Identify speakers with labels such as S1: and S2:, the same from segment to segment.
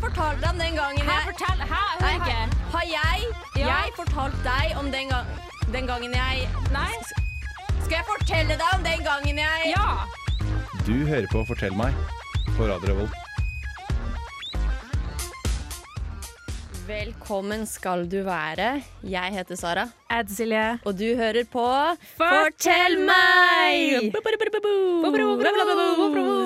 S1: fortalt deg om den gangen
S2: Her,
S1: jeg
S2: fortell! Her,
S1: Nei,
S2: hører
S1: har,
S2: ikke.
S1: har jeg,
S2: Ja.
S1: jeg fortalt deg om den, gang, den gangen jeg
S2: Nei?
S1: Skal jeg fortelle deg om den gangen jeg
S2: Ja!
S3: Du hører på Fortell meg på Radio Revolt.
S1: Velkommen skal du være. Jeg heter Sara,
S2: Ed Silje.
S1: og du hører på
S2: Fortell meg!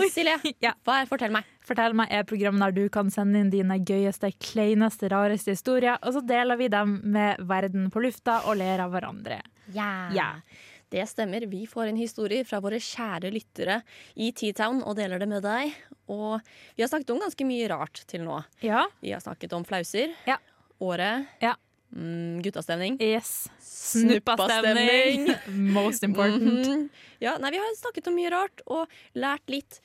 S1: Silje,
S2: Ja.
S1: hva er Fortell meg?
S2: Fortell meg er programmet der du kan sende inn dine gøyeste, kleineste, rareste historier, og så deler vi dem med verden på lufta og ler av hverandre. Ja.
S1: Det stemmer. Vi får inn historier fra våre kjære lyttere i T-Town og deler det med deg. Og vi har snakket om ganske mye rart til nå.
S2: Ja.
S1: Vi har snakket om flauser,
S2: Ja.
S1: året,
S2: Ja.
S1: mm, guttastemning.
S2: Yes. Snuppastemning. Most important.
S1: Mhm. Ja, nei, vi har snakket om mye rart og lært litt.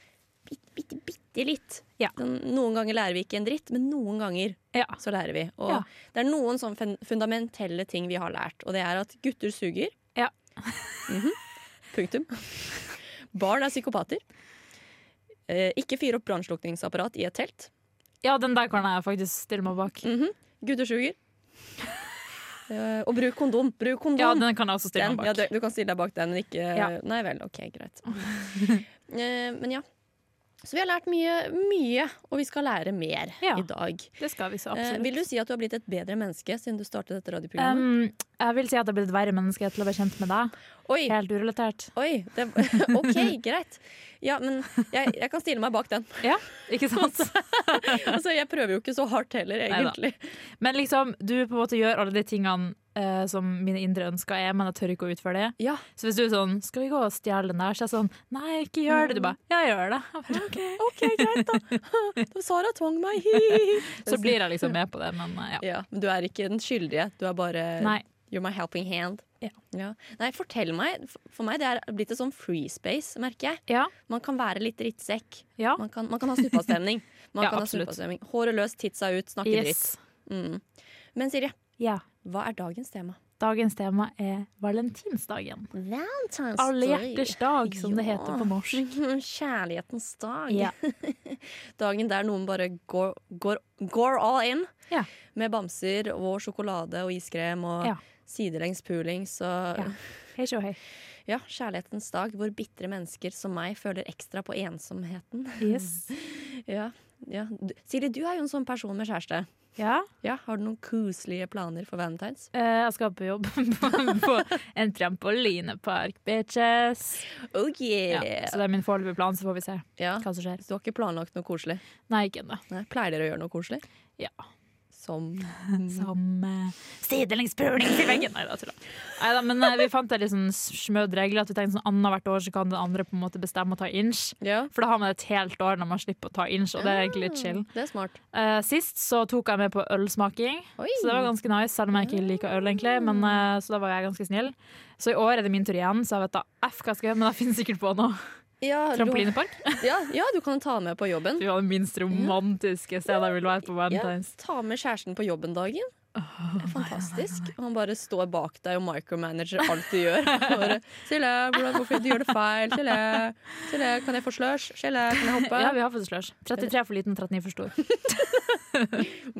S1: Bitte, bitte, bitte litt.
S2: Ja.
S1: Sånn, Noen ganger lærer vi ikke en dritt, men noen ganger
S2: Ja.
S1: så lærer vi. Og
S2: Ja.
S1: det er noen sånn fen- fundamentelle ting vi har lært, og det er at gutter suger.
S2: Ja.
S1: Mhm. Punktum. Barn er psykopater. Eh, ikke fyr opp brannslukningsapparat i et telt.
S2: ja, den der kan jeg faktisk stille meg bak.
S1: Mhm. Gutter suger. Eh, og bruk kondom. Bruk kondom!
S2: Ja, den kan jeg også stille
S1: Den,
S2: meg
S1: ja,
S2: bak.
S1: du, du kan stille deg bak den, men ikke
S2: Ja.
S1: Nei vel, OK, greit. Eh, men ja. Så vi har lært mye, mye, og vi skal lære mer
S2: Ja,
S1: i dag.
S2: Det skal vi så
S1: Eh,
S2: absolutt.
S1: vil du si at du har blitt et bedre menneske siden du startet dette radioprogrammet?
S2: Um, jeg vil si at jeg er blitt et verre menneske til å bli kjent med deg.
S1: oi,
S2: Helt urelatert.
S1: oi! Det, OK, greit. Ja, men jeg, jeg kan stille meg bak den.
S2: Ja, ikke sant?
S1: Altså, jeg prøver jo ikke så hardt heller,
S2: Neida.
S1: egentlig.
S2: Men liksom, du på en måte gjør alle de tingene eh, som mine indre ønsker er, men jeg tør ikke å utføre det.
S1: Ja,
S2: Så hvis du er sånn 'skal vi gå og stjele den der', så er jeg sånn 'nei, ikke gjør det'. Du bare 'ja, jeg gjør det'. Jeg bare, «Ok».
S1: OK, greit, da. Sara tvang meg. Hi, hi, hi.
S2: Så blir jeg liksom med på det, men eh, ja.
S1: Ja, Men du er ikke den skyldige. Du er bare
S2: Nei.
S1: You're my helping hand.
S2: Ja.
S1: Nei, fortell meg. f- For meg det er blitt et sånn free space, merker jeg.
S2: Ja.
S1: Man kan være litt drittsekk.
S2: ja.
S1: Man kan, man kan ha snuppastemning. Man
S2: Ja,
S1: kan ha
S2: absolutt.
S1: snuppastemning. Håret løst, titsa ut, snakke
S2: Yes.
S1: dritt. Mm. Men Silje,
S2: Ja.
S1: hva er dagens tema?
S2: Dagens tema er valentinsdagen.
S1: Valentine's
S2: Alle hjerters dag, som det
S1: Ja.
S2: heter på norsk.
S1: Kjærlighetens dag.
S2: Ja.
S1: Dagen der noen bare går, går, går all in.
S2: Ja.
S1: Med bamser og sjokolade og iskrem og
S2: Ja.
S1: sidelengs pulings og
S2: Ja. Hei, sjå, hei.
S1: Ja, kjærlighetens dag, hvor bitre mennesker som meg føler ekstra på ensomheten.
S2: Yes.
S1: Ja, ja. Du- Silje, du er jo en sånn person med kjæreste.
S2: Ja.
S1: Ja, Har du noen koselige planer for valentines?
S2: Eh, jeg skal på jobb på en trampolinepark, bitches.
S1: Oh
S2: Ja.
S1: yeah! Ah.
S2: Så det er min foreløpige plan, så får vi se
S1: Ja.
S2: hva som skjer.
S1: Så du har ikke planlagt noe koselig?
S2: Nei, ikke ennå.
S1: Nei, Pleier dere å gjøre noe koselig?
S2: Ja.
S1: Som
S2: Som uh, sidelengsmåling til veggen. Nei da, tulla. Neida, men eh, vi fant en litt sånn smød regel at vi tenkte sånn annethvert år så kan den andre på en måte bestemme å ta inch.
S1: Ja,
S2: For da har man et helt år når man slipper å ta inch, og det er egentlig litt chill.
S1: det er smart.
S2: Eh, sist så tok jeg med på ølsmaking,
S1: Ah. Oi. Ah.
S2: så det var ganske nice, selv om jeg ikke liker øl, egentlig. Men, eh, så da var jeg ganske snill. Så i år er det min tur igjen, så jeg vet da f hva jeg skal gjøre, men jeg finner sikkert på noe.
S1: Ja, du,
S2: Trampolinepark.
S1: ja, ja, du kan ta med på jobben.
S2: Det var det minst romantiske stedet jeg ville være på
S1: Ja,
S2: Valentine's.
S1: ta med kjæresten på jobben dagen. Det er fantastisk. Han bare står bak deg og micromanager alt du gjør. Bare, Silje, hvordan, hvorfor du gjør det feil? Silje, Silje kan jeg få slush? Silje, kan jeg hoppe?
S2: Ja, vi har fått slush. 33 for liten, 39 for stor.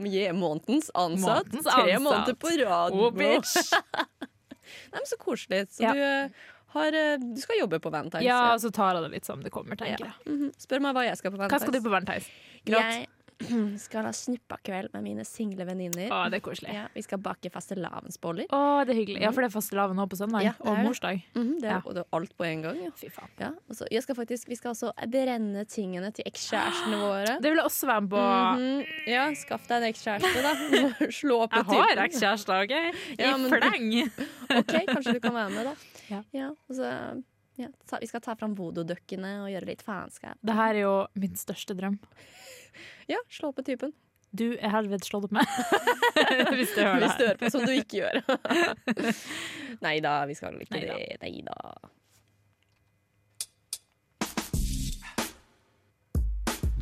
S1: Yeah, månedens ansatt.
S2: Månedens
S1: Tre
S2: ansatt.
S1: måneder på rad.
S2: Oh,
S1: bro.
S2: bitch!
S1: Nei, men så koselig. Så
S2: Ja.
S1: du, eh, har, eh, du skal jobbe på Valentine's.
S2: Ja,
S1: ja.
S2: og så tar jeg det litt som det kommer, tenker
S1: Ja.
S2: jeg.
S1: Mhm. Spør meg hva jeg skal på Valentine's.
S2: Hva skal du på Valentine's? Gråt?
S1: Jeg skal ha snuppakveld med mine single venninner.
S2: Å, det er koselig.
S1: Ja, vi skal bake fastelavnsboller.
S2: Å, det er hyggelig. Ja, for det er fastelavn nå på søndag.
S1: Ja, det er
S2: og
S1: det.
S2: morsdag.
S1: Mhm, det, er-
S2: Ja.
S1: og det er alt på en gang. Ja.
S2: Fy faen.
S1: Ja, og så- jeg skal faktisk, vi skal også brenne tingene til ekskjærestene våre.
S2: Det vil jeg også være med på.
S1: Mhm. Ja, skaff deg en ekskjæreste, da. Slå opp
S2: Jeg har ekskjæreste, OK? I
S1: Ja, men-
S2: fleng!
S1: OK, kanskje du kan være med, da.
S2: Ja.
S1: og så, ja, ta, vi skal ta fram voodoo-dukkene og gjøre litt faenskap.
S2: Det her er jo min største drøm.
S1: Ja, slå opp med typen.
S2: Du er helvete slått opp med. Hvis du hører det.
S1: Hvis du
S2: her.
S1: hører på, som du ikke gjør. Nei da, vi skal vel ikke
S2: Neida.
S1: det. Nei da.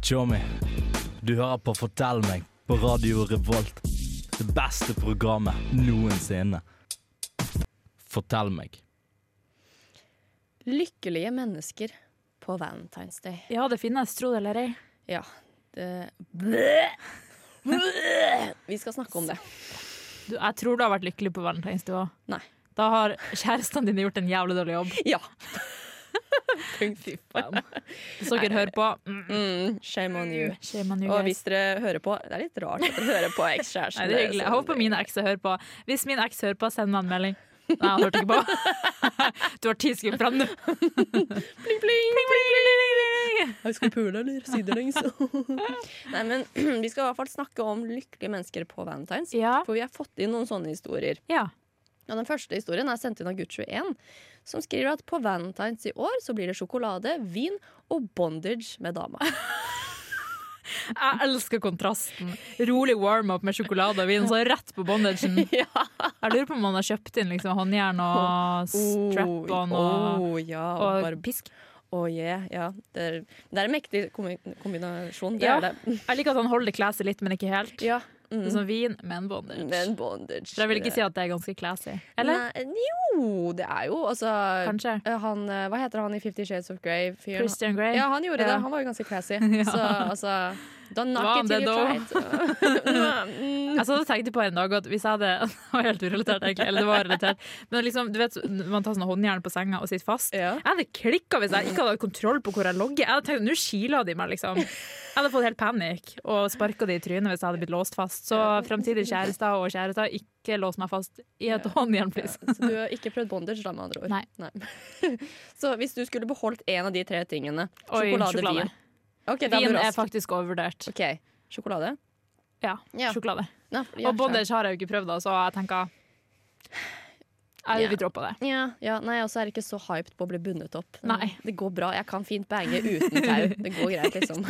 S4: Tjommi, du hører på Fortell meg på Radio Revolt. Det beste programmet noensinne. Fortell meg.
S1: Lykkelige mennesker på Valentine's Day.
S2: Ja, det finnes, tro det eller ei.
S1: Ja. Det Bleh! Vi skal snakke om det.
S2: Du, jeg tror du har vært lykkelig på valentinsdag.
S1: Nei.
S2: Da har kjærestene dine gjort en jævlig dårlig jobb.
S1: Ja. Tenk fy faen.
S2: Hvis dere hører på mm,
S1: Mm, shame on you.
S2: shame on you
S1: Og
S2: guys.
S1: hvis dere hører på Det er litt rart at dere hører på ekskjæresten.
S2: Nei, det er hyggelig. Jeg håper mine ekser hører på. Hvis min eks hører på, send meg en melding. Nei, han hørte ikke på. Du har ti sekunder fram, du.
S1: Pling, pling.
S2: Pling,
S1: Jeg skal pule eller sidelengs. Nei, men vi skal i hvert fall snakke om lykkelige mennesker på Valentine's.
S2: Ja.
S1: For vi har fått inn noen sånne historier.
S2: ja.
S1: Og den første historien er sendt inn av Gutt21, som skriver at på Valentine's i år så blir det sjokolade, vin og bondage med dama.
S2: Jeg elsker kontrasten. Rolig warm-up med sjokolade og vin, så rett på bondagen.
S1: Ja.
S2: Jeg lurer på om han har kjøpt inn liksom, håndjern og strap-on og,
S1: Oh, ja, og
S2: og
S1: bare
S2: oh, pisk.
S1: oh, yeah, ja. Det er, det er en mektig kombi- kombinasjon. Det
S2: Ja.
S1: er det.
S2: Jeg liker at han holder classy litt, men ikke helt.
S1: Ja.
S2: Det er Som vin, men bondage.
S1: Men bondage
S2: For jeg vil ikke si at det er ganske classy. Eller?
S1: Nei, jo, det er jo altså
S2: Kanskje.
S1: eh, han, eh, Hva heter han i Fifty Shades of Grey? Fyren-
S2: Christian Grey.
S1: Ja, han gjorde
S2: Ja.
S1: det. Han var jo ganske classy. Så altså Don't
S2: Var
S1: knock
S2: han
S1: it till
S2: det
S1: you
S2: da?
S1: try it. Mm.
S2: Jeg satt og tenkte Altså, på en dag at hvis jeg hadde Det var helt urelatert, egentlig. Eller det var relatert. Men liksom, du vet, man tar sånn håndjern på senga og sitter fast.
S1: Ja.
S2: Jeg hadde klikka hvis jeg ikke hadde hatt kontroll på hvor jeg logger. Jeg hadde tenkt, Nå kiler de meg, liksom. Jeg hadde fått helt panikk og sparka de i trynet hvis jeg hadde blitt låst fast. Så fremtidige kjærester og kjærester, ikke lås meg fast i et håndjern, please.
S1: Så du har ikke prøvd bondage, da, med andre ord?
S2: Nei.
S1: Så hvis du skulle beholdt én av de tre tingene
S2: Oi,
S1: Sjokolade,
S2: sjokolade.
S1: vin Ok, da blir
S2: Vin
S1: det
S2: er
S1: raskt.
S2: faktisk overvurdert.
S1: Ok, Sjokolade?
S2: Ja,
S1: Ja.
S2: sjokolade.
S1: Nei, ja,
S2: Og bondage har jeg jo ikke prøvd, da, så jeg tenker Jeg
S1: Ja.
S2: vil droppe det.
S1: Ja, ja, nei, og så er jeg ikke så hyped på å bli bundet opp.
S2: Nei.
S1: Det går bra. Jeg kan fint bange uten tau. Det går greit, liksom.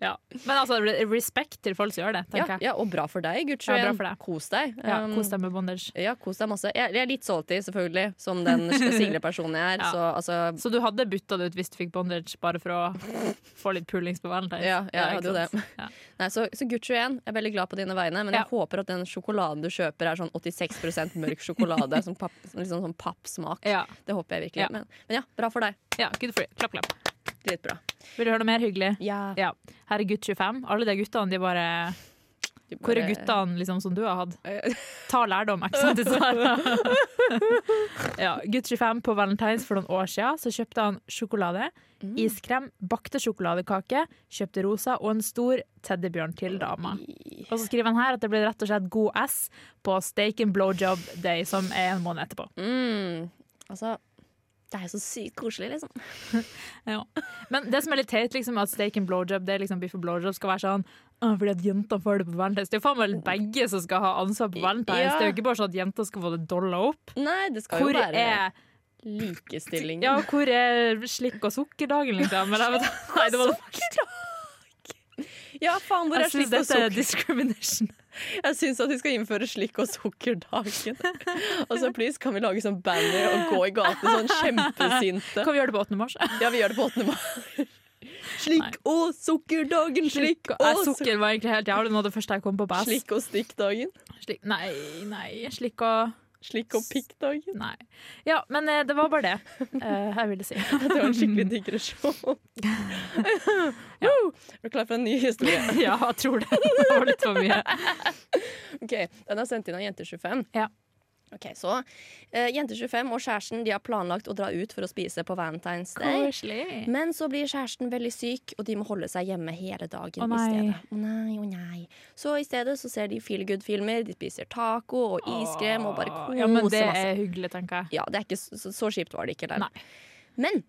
S2: Ja. Men altså, respekt til folk som gjør det, tenker
S1: Ja,
S2: jeg.
S1: ja, og bra for deg, gutt
S2: Ja, bra
S1: 21.
S2: for deg.
S1: Kos deg.
S2: Ja,
S1: Um,
S2: Kos deg med bondage.
S1: ja, kos deg masse. Jeg, jeg er litt salty, selvfølgelig, som den singlepersonen jeg er.
S2: Ja.
S1: Så altså
S2: Så du hadde bytta det ut hvis du fikk bondage, bare for å få litt pullings på Valentine's?
S1: Ja, jeg
S2: ikke
S1: hadde jo
S2: sant?
S1: det.
S2: Ja.
S1: Nei, så, så gutt 21, jeg er veldig glad på dine vegne, men
S2: Ja.
S1: jeg håper at den sjokoladen du kjøper, er sånn 86 mørk sjokolade. sånn papp, sånn- litt sånn, sånn pappsmak.
S2: Ja.
S1: Det håper jeg virkelig.
S2: Ja.
S1: Men, men ja, bra for deg.
S2: ja, good for you. Klapp, klapp.
S1: Dritbra.
S2: Vil du høre noe mer hyggelig?
S1: Ja.
S2: Ja. Her er gutt 25. Alle de guttene, de bare Hvor er guttene liksom, som du har hatt? Ta lærdom, ikke sant? til Sara? ja, gutt 25 på Valentine's for noen år siden så kjøpte han sjokolade,
S1: Mm.
S2: iskrem, bakte sjokoladekake, kjøpte rosa og en stor teddybjørn til dama. Og så skriver han her at det ble rett og slett god ass på steak and blowjob day, som er en måned etterpå.
S1: Mm, altså, det er jo så sykt koselig, liksom.
S2: Ja. Men det som er litt teit, liksom, at steak and blowjob, det er liksom biff og blowjob, skal være sånn «Å, fordi at jentene får det på valentines. Det er jo faen meg begge som skal ha ansvar på
S1: Oh.
S2: valentines.
S1: Ja.
S2: Det er jo ikke bare sånn at jenter skal få det dolla opp.
S1: Nei, det skal
S2: Hvor
S1: jo være
S2: er,
S1: likestilling.
S2: ja, hvor er slikk- og sukkerdagen, liksom? Men jeg vet, nei, det var,
S1: Ja, faen, hvor er
S2: jeg syns
S1: slikk og
S2: dette er
S1: sukker?
S2: discrimination.
S1: Jeg syns at vi skal innføre slikk og sukker-dagen. altså, please, kan vi lage sånn banner og gå i gatene sånn kjempesinte?
S2: Kan vi gjøre det på 8. mars?
S1: Ja, vi gjør det på 8. mai. Slikk og sukkerdagen, slikk
S2: Nei,
S1: og sukker.
S2: sukker var egentlig helt jævlig nå, det første jeg kom på på S.
S1: Slikk og stikkdagen.
S2: Slik- Nei, nei, slikk og
S1: Slikk og pikkdagen.
S2: Nei. Ja, men eh, det var bare det eh, jeg ville si.
S1: Det var en skikkelig digresjon. Woo! Er du klar for en ny historie?
S2: Ja, jeg tror det. Det var litt for mye.
S1: Ok, Den er sendt inn av Jente25.
S2: Ja.
S1: Ok, så eh, Jente25 og kjæresten de har planlagt å dra ut for å spise på Valentine's Day.
S2: Koselig.
S1: Men så blir kjæresten veldig syk, og de må holde seg hjemme hele dagen.
S2: Å
S1: i
S2: nei.
S1: stedet. Å nei, å nei. Så i stedet så ser de feel good-filmer, de spiser taco og iskrem og bare koser
S2: Ja, men det
S1: masse.
S2: er hyggelig, tenker jeg.
S1: Ja, det er ikke, så, så kjipt var det ikke. Der.
S2: Nei.
S1: Men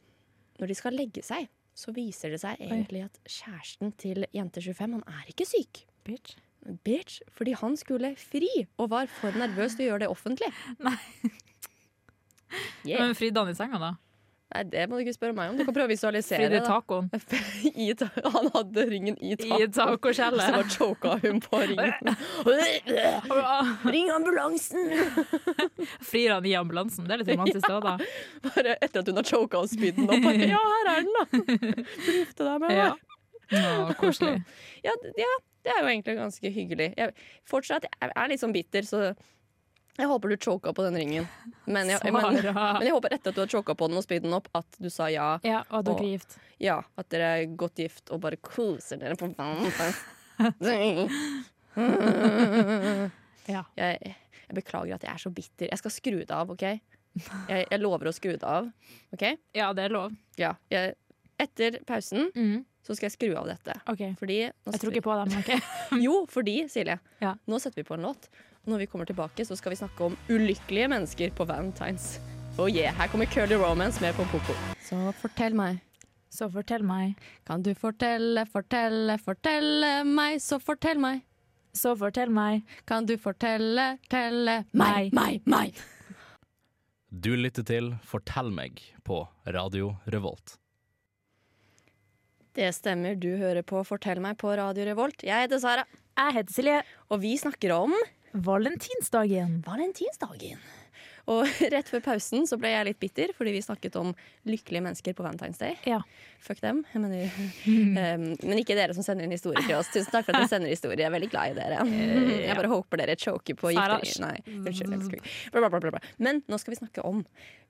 S1: når de skal legge seg, så viser det seg egentlig at kjæresten til jente 25 han er ikke syk.
S2: Bitch.
S1: Bitch, fordi han skulle fri og var for nervøs til å gjøre det offentlig.
S2: Nei.
S1: Yeah.
S2: Men fridde han i senga, da?
S1: Nei, det må du ikke spørre meg om. Du kan prøve å visualisere det.
S2: Fridde i
S1: da.
S2: tacoen?
S1: I ta han hadde ringen i
S2: I
S1: taket. Og så
S2: tacokjellet?
S1: bare choka hun på ringen. Ring ambulansen!
S2: Frir han i ambulansen? Det er litt romantisk, det også, da.
S1: Bare etter at hun har choka og spydd den opp. Bare, Ja, her er den, da! Du gifte deg med meg.
S2: Ja. Å, koselig.
S1: Ja, d- ja, det er jo egentlig ganske hyggelig. Jeg, fortsatt jeg er litt sånn bitter, så jeg håper du choka på den ringen. Men jeg, men, men
S2: Sara.
S1: jeg håper etter at du har choka på den og spydd den opp, at du sa ja.
S2: Ja, og dere er gift.
S1: Ja, At dere er godt gift og bare koser dere på vann.
S2: Ja.
S1: Jeg, jeg beklager at jeg er så bitter. Jeg skal skru det av, OK? Jeg, jeg lover å skru det av. OK?
S2: ja, det er lov.
S1: Ja. Jeg, etter pausen
S2: Mm.
S1: så skal jeg skru av dette.
S2: OK.
S1: Fordi nå
S2: Jeg tror
S1: setter
S2: ikke på dem. ok?
S1: vi, Jo, fordi, Silje.
S2: Ja.
S1: Nå setter vi på en låt. Og når vi kommer tilbake, så skal vi snakke om ulykkelige mennesker på Valentine's. Oh yeah, Her kommer Curly Romance med på Popo. Så fortell meg.
S2: Så fortell meg,
S1: Kan du fortelle, fortelle, fortelle meg, så fortell meg.
S2: så fortell meg.
S1: Kan du fortelle, telle
S2: meg,
S1: meg, meg?
S4: Du lytter til Fortell meg på Radio Revolt.
S1: Det stemmer, du hører på Fortell meg på Radio Revolt. Jeg heter Sara,
S2: Jeg heter Silje.
S1: og vi snakker om
S2: Valentinsdagen.
S1: valentinsdagen. Og rett før pausen så ble jeg litt bitter, fordi vi snakket om lykkelige mennesker på Valentine's Day.
S2: Ja.
S1: Fuck dem. Jeg mener, ehm, men ikke dere som sender inn historier til oss. Tusen takk for at dere sender historier. Jeg er veldig glad i dere. Jeg bare håper dere choker på
S2: Eh, Sara, mm.
S1: gifteri. Nei, unnskyld. jeg skulle- Bla, bla, bla, bla, bla. Men nå skal vi snakke om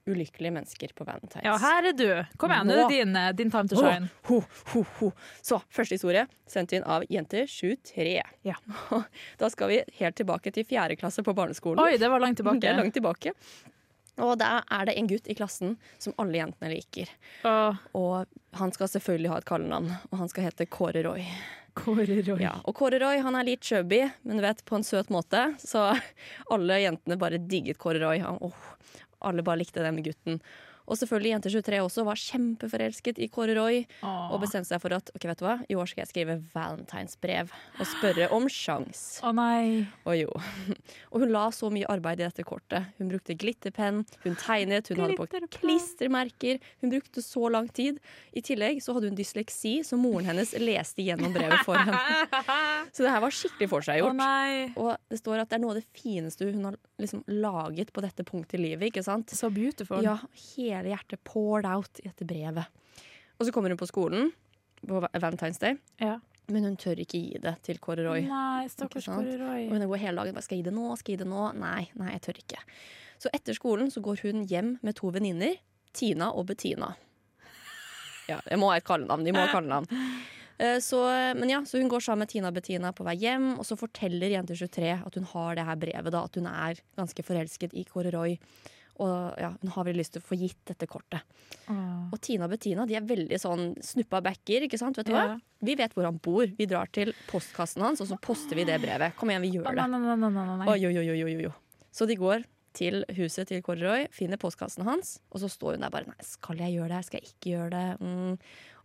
S1: ulykkelige mennesker på Valentine's.
S2: Ja, her er du. Kom igjen, nå er det din, eh, din time to shine.
S1: Ho, ho, ho. Så, første historie sendt inn av Jente23.
S2: Ja.
S1: Da skal vi helt tilbake til fjerde klasse på barneskolen.
S2: Oi, det var langt tilbake.
S1: Det er langt tilbake. Og da er det en gutt i klassen som alle jentene liker.
S2: Åh,
S1: Og han skal selvfølgelig ha et kallenavn, og han skal hete Kåre Roy.
S2: Kåre Roy.
S1: Ja, og Kåre Roy han er litt chubby, men du vet, på en søt måte. Så alle jentene bare digget Kåre Roy. Han, åh, alle bare likte denne gutten. Og selvfølgelig Jente23 også var kjempeforelsket i Kåre Roy.
S2: Åh.
S1: Og bestemte seg for at ok, vet du hva, i år skal jeg skrive valentinsbrev og spørre om sjans.
S2: Å nei.
S1: Og jo. Og hun la så mye arbeid i dette kortet. Hun brukte glitterpenn, hun tegnet, hun hadde på
S2: Glitterpenn.
S1: klistremerker. Hun brukte så lang tid. I tillegg så hadde hun dysleksi, så moren hennes leste gjennom brevet for henne. Så det her var skikkelig
S2: Å
S1: forseggjort.
S2: nei.
S1: Og det står at det er noe av det fineste hun har liksom laget på dette punktet i livet. ikke sant?
S2: Så beautiful.
S1: Ja, hele hjertet poured out i dette brevet. Og så kommer hun på skolen på va- Valentine's Day,
S2: Ja.
S1: men hun tør ikke gi det til Kåre Roy.
S2: Nei, stakkars
S1: Ikke sant?
S2: Kåre
S1: Og
S2: Roy.
S1: hun går hele dagen bare 'skal jeg gi det nå', 'skal jeg gi det nå'? Nei, nei, jeg tør ikke. Så etter skolen så går hun hjem med to venninner, Tina og Bettina. Ja, jeg må ha et kallenavn. De må ha et kallenavn. Eh, Så, men ja, så hun går sammen med Tina og Bettina på vei hjem, og så forteller Jenter23 at hun har det her brevet, da, at hun er ganske forelsket i Kåre Roy. Og ja, hun har veldig lyst til å få gitt dette kortet.
S2: Åh.
S1: Og Tina og Bettina de er veldig sånn snuppa backer. ikke sant? Vet du
S2: Ja.
S1: hva? Vi vet hvor han bor. Vi drar til postkassen hans, og så poster vi det brevet. Kom igjen, vi gjør
S2: Å,
S1: det.
S2: Nei, nei, nei, nei, nei, nei.
S1: Oi, oi, oi, oi, oi, oi. Så de går til huset til Kåre Roy, finner postkassen hans, og så står hun der bare Nei, skal jeg gjøre det? Skal jeg ikke gjøre det? Mm.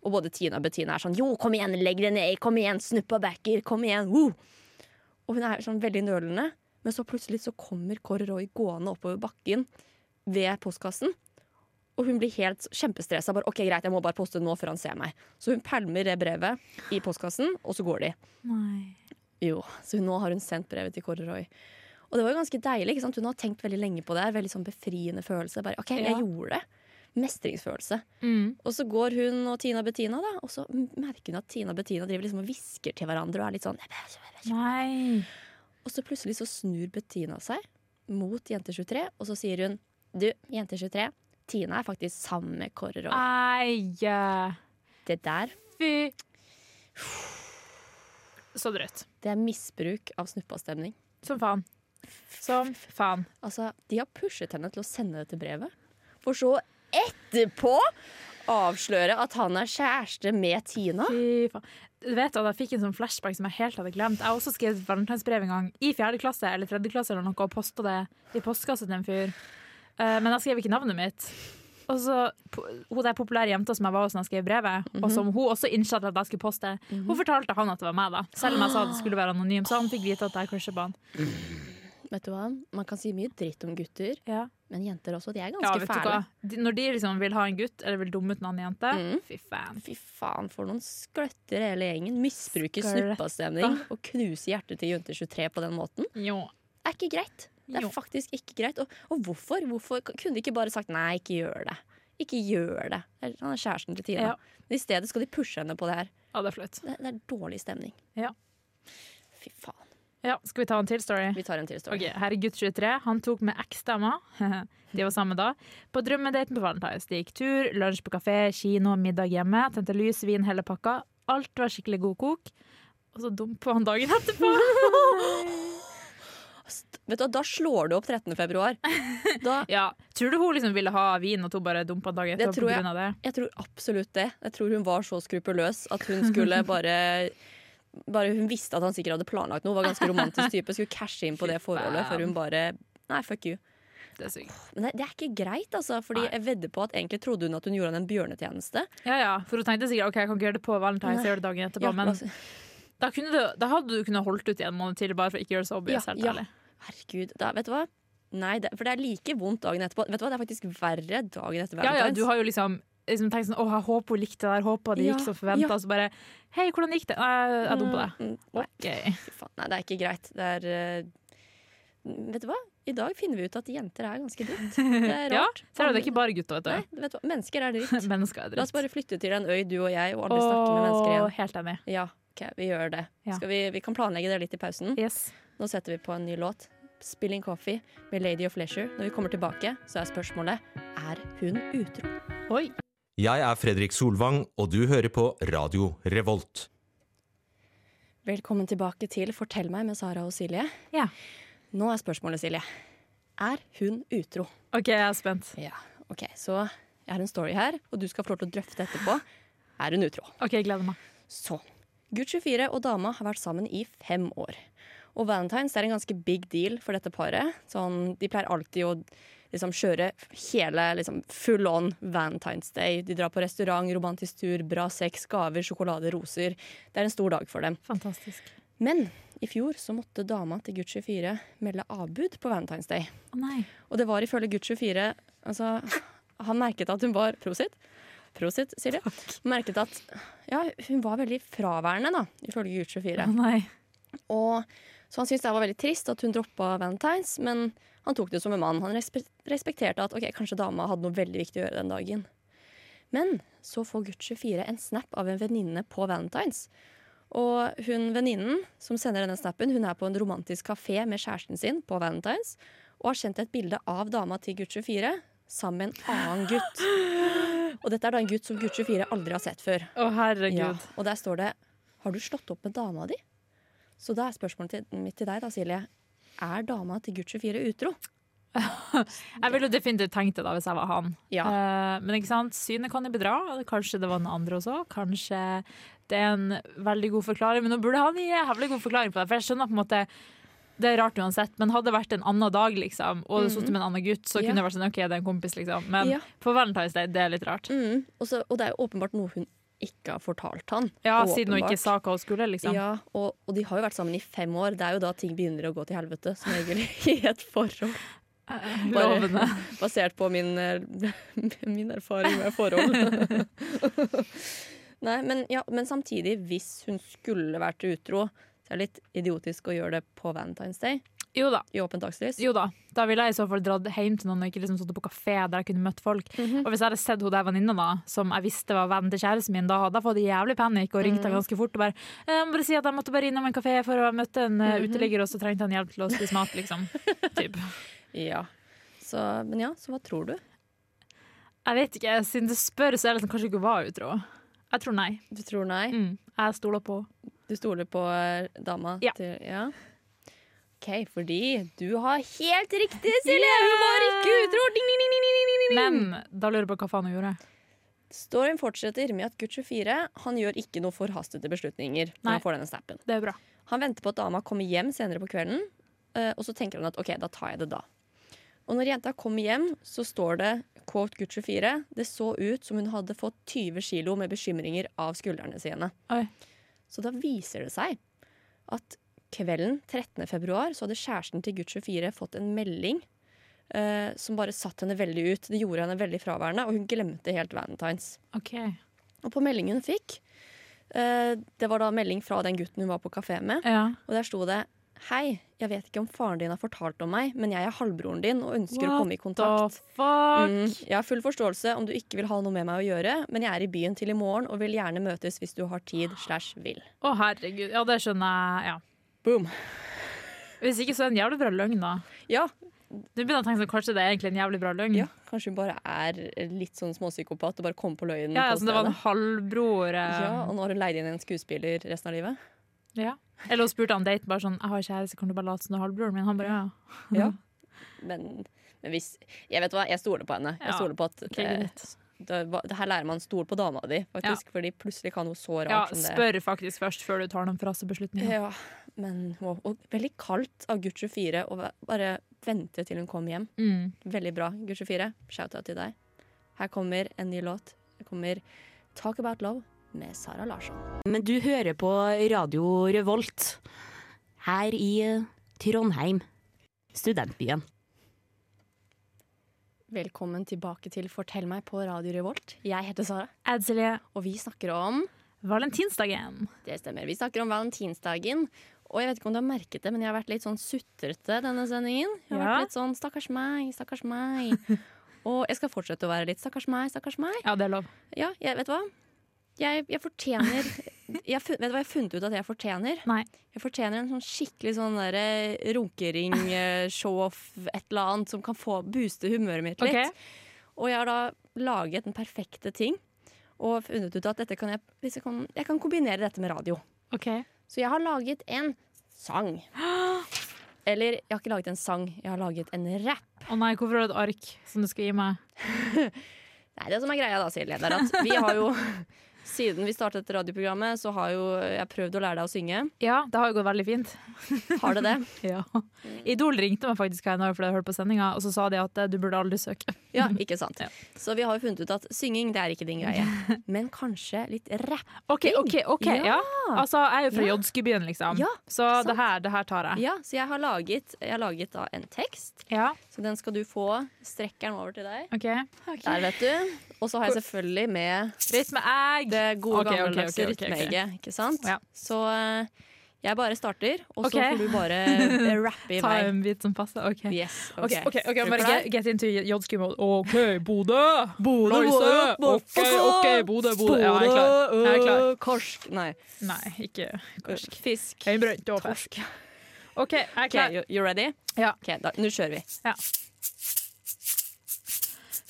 S1: Og både Tina og Bettina er sånn Jo, kom igjen, legg det ned! Kom igjen, snuppa backer! Kom igjen! Woo! Og hun er sånn veldig nølende, men så plutselig så kommer Kåre Roy gående oppover bakken ved postkassen. Og hun blir helt kjempestressa. Bare, ok, greit, jeg må bare poste nå før han ser meg. Så hun pælmer det brevet i postkassen, og så går de.
S2: Nei.
S1: Jo, så nå har hun sendt brevet til Kåre Roy. Og det var jo ganske deilig. ikke sant? Hun har tenkt veldig lenge på det. her, Veldig sånn befriende følelse. Bare, ok,
S2: Ja.
S1: jeg gjorde det. Mestringsfølelse.
S2: Mm.
S1: Og så går hun og Tina og Bettina, da, og så merker hun at Tina og Bettina driver liksom og hvisker til hverandre. Og er litt sånn
S2: Nei.
S1: Og så plutselig så snur Bettina seg mot Jente23, og så sier hun Du, Jente23, Tina er faktisk sammen med Kåre
S2: Ah.
S1: Roy.
S2: Ei.
S1: Det der,
S2: Fy. Så drøyt.
S1: det er misbruk av snuppastemning.
S2: Som faen. Som faen.
S1: Altså, de har pushet henne til å sende dette brevet. For så etterpå avsløre at han er kjæreste med Tina.
S2: Fy faen. Du vet at Jeg fikk en sånn flashback som jeg helt hadde glemt. Jeg har også skrevet et valentinsbrev en gang, i fjerde klasse eller tredje klasse, eller noe, og posta det i postkassa til en fyr. Eh, men jeg skrev ikke navnet mitt. Og så po- Hun der populære jenta som jeg var hos da jeg skrev brevet, og
S1: Mhm.
S2: som hun også innså at jeg skulle poste, hun fortalte han at det var meg, da. Selv om jeg sa at det skulle være anonym, så han fikk vite at jeg crusher på han.
S1: Vet du hva? Man kan si mye dritt om gutter,
S2: Ja.
S1: men jenter også. De er
S2: Ja,
S1: ganske
S2: vet du
S1: fæle.
S2: hva? De, når de liksom vil ha en gutt, eller vil dumme ut en annen jente
S1: Mm.
S2: Fy faen.
S1: Fy faen, for noen skløtter hele gjengen. Misbruker
S2: Skløtta.
S1: snuppastemning og knuser hjertet til jenter 23 på den måten.
S2: Jo.
S1: Det er ikke greit. Det er
S2: Jo.
S1: faktisk ikke greit. Og, og hvorfor? Hvorfor kunne de ikke bare sagt nei, ikke gjør det? Ikke gjør det. Det er- Han er kjæresten til Tina.
S2: Ja.
S1: Men i stedet skal de pushe henne på det her.
S2: Ja, det er flaut.
S1: Det, det er dårlig stemning.
S2: Ja.
S1: Fy faen.
S2: Ja, skal vi ta en til story?
S1: Vi tar en til story.
S2: Ok, Herregud 23, han tok med eksdama, de var sammen da, på drømmedaten på Valentine's. De gikk tur, lunsj på kafé, kino, middag hjemme, tente lys, vin, hele pakka. Alt var skikkelig god kok. og så dumper han dagen etterpå.
S1: St- Vet du, hva, Da slår du opp 13. februar. Da,
S2: Ja, Tror du hun liksom ville ha vin, og at hun bare dumpa dagen
S1: Det
S2: etterpå
S1: tror jeg.
S2: pga. det?
S1: jeg tror absolutt det. Jeg tror hun var så skrupuløs at hun skulle bare Bare Hun visste at han sikkert hadde planlagt noe, var ganske romantisk type, skulle cashe inn på det forholdet før hun bare Nei, fuck you.
S2: Det er sykt.
S1: Men det, det er ikke greit, altså. Fordi
S2: Nei.
S1: jeg vedder på at egentlig trodde hun at hun gjorde han en bjørnetjeneste.
S2: Ja, ja, for hun tenkte sikkert ok, jeg kan ikke gjøre det på valentines, jeg gjør det dagen etterpå.
S1: Ja,
S2: men
S1: altså,
S2: da, kunne du, da hadde du kunnet holdt ut i en måned til bare for å ikke gjøre det så obvious.
S1: Ja,
S2: helt
S1: ja.
S2: ærlig.
S1: herregud. Da, vet du hva? Nei, det, for det er like vondt dagen etterpå. Vet du hva, Det er faktisk verre dagen etter
S2: ja, ja,
S1: Valentine's.
S2: du har jo liksom, liksom tenkt sånn åh, jeg håper hun likte det der, håper det
S1: Ja,
S2: gikk som forventa,
S1: ja.
S2: og så bare hei, hvordan gikk det? Nei, jeg dumpa det.
S1: Mm, Nei,
S2: Ok.
S1: fy faen. Nei, det er ikke greit. Det er eh, Vet du hva? I dag finner vi ut at jenter er ganske dritt. Det er
S2: Ja,
S1: rart. Sånn
S2: Ser du, det er ikke bare gutter,
S1: Nei,
S2: vet du.
S1: vet du hva? Mennesker er dritt.
S2: Mennesker er
S1: La oss
S2: dritt.
S1: bare flytte til en øy, du og jeg, og aldri snakke med mennesker
S2: Åh,
S1: igjen.
S2: helt enig.
S1: Ja, ok, vi gjør det.
S2: Ja.
S1: Skal vi, vi kan planlegge det litt i pausen.
S2: Yes.
S1: Nå setter vi på en ny låt. 'Spilling Coffee' med Lady of Leisure. Når vi kommer tilbake, så er spørsmålet er hun utro.
S2: Oi.
S5: Jeg er Fredrik Solvang, og du hører på Radio Revolt.
S1: Velkommen tilbake til 'Fortell meg' med Sara og Silje.
S2: Ja.
S1: Nå er spørsmålet, Silje. Er hun utro?
S2: OK, jeg er spent.
S1: Ja, ok, Så jeg har en story her, og du skal få lov til å drøfte etterpå. Er hun utro?
S2: OK, jeg gleder meg.
S1: Så. Gutt 24 og dama har vært sammen i fem år. Og Valentine's er en ganske big deal for dette paret. Sånn, de pleier alltid å liksom, kjøre hele liksom, full on Valentine's Day. De drar på restaurant, romantisk tur, bra sex, gaver, sjokolade, roser. Det er en stor dag for dem.
S2: Fantastisk.
S1: Men i fjor så måtte dama til gutt 24 melde avbud på Valentine's Day.
S2: Å nei.
S1: Og det var ifølge Gutt 24 altså, Han merket at hun var Prosit. Prosit, Silje. Merket at ja, hun var veldig fraværende, da, ifølge Gutt 24.
S2: Å nei.
S1: Og, så han syntes det var veldig trist at hun droppa Valentine's, men han tok det som en mann. Han respe- respekterte at ok, kanskje dama hadde noe veldig viktig å gjøre den dagen. Men så får gutt 24 en snap av en venninne på Valentine's. Og hun venninnen som sender denne snappen, hun er på en romantisk kafé med kjæresten sin på Valentine's og har sendt et bilde av dama til gutt 24 sammen med en annen gutt. Og dette er da en gutt som gutt 24 aldri har sett før.
S2: Å herregud.
S1: Ja, og der står det Har du slått opp med dama di? Så da er spørsmålet til, mitt til deg da, Silje. Er dama til gutt 24 utro?
S2: Jeg ville jo definitivt tenkt det da hvis jeg var han.
S1: Ja.
S2: Eh, men ikke sant, synet kan jo bedra. og Kanskje det var den andre også. Kanskje det er en veldig god forklaring. Men nå burde han gi en jævlig god forklaring på det. For jeg skjønner på en måte det er rart uansett, men hadde det vært en annen dag liksom, og du sittet med en annen gutt, så
S1: Mhm. Ja.
S2: kunne det vært sånn OK, det er en kompis, liksom. Men
S1: Ja.
S2: på Valentine's Day, det er litt rart.
S1: Mm. Og, så, og det er jo åpenbart noe hun ikke har fortalt han.
S2: Ja, siden hun
S1: Åpenbart.
S2: ikke sa hva hun skulle, liksom.
S1: Ja, og, og de har jo vært sammen i fem år. Det er jo da ting begynner å gå til helvete, som regel i et forhold. bare-
S2: Lovende.
S1: Basert på min, eh, min erfaring med forhold. Nei, men, ja, men samtidig, hvis hun skulle vært utro, så er det litt idiotisk å gjøre det på Valentine's Day
S2: Jo da.
S1: i åpent dagslys.
S2: Jo da, da ville jeg i så fall dratt hjem til noen og ikke liksom sittet på kafé der jeg kunne møtt folk.
S1: Mhm.
S2: Og hvis jeg hadde sett hun der venninna da, som jeg visste var vennen til kjæresten min, da hadde jeg fått jævlig panikk og ringt
S1: Mhm.
S2: henne ganske fort og bare jeg må bare si at jeg måtte bare innom en kafé for å møte en eh,
S1: Mhm.
S2: uteligger, og så trengte han hjelp til å spise mat, liksom. typ.
S1: Ja. Så, men ja, så hva tror du?
S2: Jeg vet ikke, siden du spør, så er det liksom kanskje ikke hun var utro. Jeg tror nei.
S1: Du tror nei?
S2: Mm. Jeg stoler på henne.
S1: Du stoler på eh, dama?
S2: Ja.
S1: Til, ja. OK, fordi du har helt riktig, Silje! Hun var ikke utro! Ding, ding, ding, ding, ding, ding, ding.
S2: Men da lurer jeg på hva faen hun gjorde.
S1: Storyen fortsetter med at gutt 24 han gjør ikke noe forhastede beslutninger. når
S2: Nei.
S1: Han får denne snappen.
S2: Det er bra.
S1: Han venter på at dama kommer hjem senere på kvelden, eh, og så tenker han at OK, da tar jeg det da. Og når jenta kommer hjem, så står det quote gutt 24 det så ut som hun hadde fått 20 kilo med bekymringer av skuldrene sine.
S2: Oi.
S1: Så da viser det seg at kvelden 13. februar så hadde kjæresten til gutt 24 fått en melding eh, som bare satte henne veldig ut. Det gjorde henne veldig fraværende, og hun glemte helt Valentine's.
S2: OK.
S1: Og på meldingen hun fikk, eh, det var da melding fra den gutten hun var på kafé med,
S2: Ja.
S1: og der sto det Hei, jeg vet ikke om faren din har fortalt om meg, men jeg er halvbroren din og ønsker å komme i
S2: Da
S1: kontakt.
S2: fuck.
S1: Mm, jeg har full forståelse om du ikke vil ha noe med meg å gjøre, men jeg er i byen til i morgen og vil gjerne møtes hvis du har tid slash vil.
S2: Å herregud. Ja, det skjønner jeg. Ja.
S1: Boom.
S2: Hvis ikke, så er det en jævlig bra løgn, da.
S1: Ja,
S2: Du begynner å tenke sånn, kanskje det er egentlig en jævlig bra løgn.
S1: ja, kanskje hun bare er litt sånn småpsykopat og bare kommer på løgnen.
S2: Ja,
S1: på
S2: altså, det var en
S1: stedet.
S2: halvbror. eh,
S1: ja, Og nå har hun leid inn en skuespiller resten av livet.
S2: Ja. Eller hun spurte han daten bare sånn 'Jeg har kjæreste, kan du bare late som du er halvbroren min?' Han bare ja.
S6: Ja. Men, men hvis Jeg vet hva, jeg stoler på henne. Jeg
S2: Ja.
S6: stoler på at
S2: Ok,
S6: eh,
S2: greit.
S6: det, det her lærer man stol på dama di, faktisk. Fordi plutselig kan hun så
S2: ja,
S6: rart som det.
S2: spør faktisk først før du tar noen frasebeslutninger.
S6: Ja, men wow. Og veldig kaldt av Gucci 4 å væ- bare vente til hun kom hjem.
S2: Mm.
S6: Veldig bra, Gucci 4. Shout-out til deg. Her kommer en ny låt. Her kommer Talk About Love med Sara Larsson.
S7: Men du hører på Radio Revolt her i eh, Trondheim, studentbyen.
S1: Velkommen tilbake til Fortell meg på Radio Revolt. Jeg heter Sara,
S2: Edselje,
S1: og vi snakker om
S2: valentinsdagen.
S1: Det stemmer. Vi snakker om valentinsdagen. Og jeg vet ikke om du har merket det, men jeg har vært litt sånn sutrete denne sendingen. Jeg har
S2: Ja.
S1: vært litt sånn 'stakkars meg, stakkars meg'. og jeg skal fortsette å være litt 'stakkars meg, stakkars meg'.
S2: Ja, det er lov.
S1: Ja, jeg, vet du hva? Jeg, jeg fortjener jeg, har fun- Vet du hva jeg har funnet ut at jeg fortjener?
S2: Nei.
S1: Jeg fortjener en sånn skikkelig sånn derre runkering, eh, show-off, et eller annet som kan få booste humøret mitt litt.
S2: Ok.
S1: Og jeg har da laget den perfekte ting og funnet ut at dette kan jeg, hvis jeg, kan, jeg kan kombinere dette med radio.
S2: Ok.
S1: Så jeg har laget en sang. Eller jeg har ikke laget en sang, jeg har laget en rap.
S2: Å nei, hvorfor har du et ark som du skal gi meg?
S1: Nei, det som er greia da, Silje, det er at vi har jo Siden vi startet radioprogrammet, så har jo jeg prøvd å lære deg å synge.
S2: Ja, det har jo gått veldig fint.
S1: Har det det?
S2: Ja. Idol ringte meg faktisk her nå fordi jeg hørte på sendinga, og så sa de at eh, du burde aldri søke.
S1: Ja, ikke sant?
S2: Ja.
S1: Så vi har jo funnet ut at synging, det er ikke din greie. Men kanskje litt rapp.
S2: OK, OK. ok,
S1: Ja.
S2: ja. Altså, jeg er jo fra Jodskebyen, liksom.
S1: Ja,
S2: så
S1: sant.
S2: det her, det her tar jeg.
S1: Ja, så jeg har laget, jeg har laget da en tekst.
S2: Ja,
S1: Så den skal du få. Strekker den over til deg.
S2: OK.
S1: Der, vet du. Og så har jeg selvfølgelig med
S2: Rytme egg!
S1: det gode,
S2: Ok, ok,
S1: gammeldagse
S2: ok, ok, ok.
S1: rytmeegget. Ikke sant?
S2: Ja.
S1: Så eh, jeg bare starter, og så
S2: Ok.
S1: får du bare rappe i
S2: Ta
S1: vei.
S2: en bit som passer. OK.
S1: Yes,
S2: Ok,
S1: ok.
S2: ok, ok,
S1: Er du
S2: bare
S1: klar?
S2: get, get into Jodski-mode. OK, Bodø! Bodø, Løyse! OK, ok, Bodø, Bodø. Ja, jeg er klar. Jeg er klar.
S1: Øh, Korsk Nei,
S2: Nei, ikke korsk.
S1: fisk.
S2: Hjemmebrent og fersk.
S1: Korsk.
S2: OK, jeg er
S1: Ok,
S2: klar.
S1: you, you ready?
S2: Ja.
S1: Ok, da, Nå kjører vi.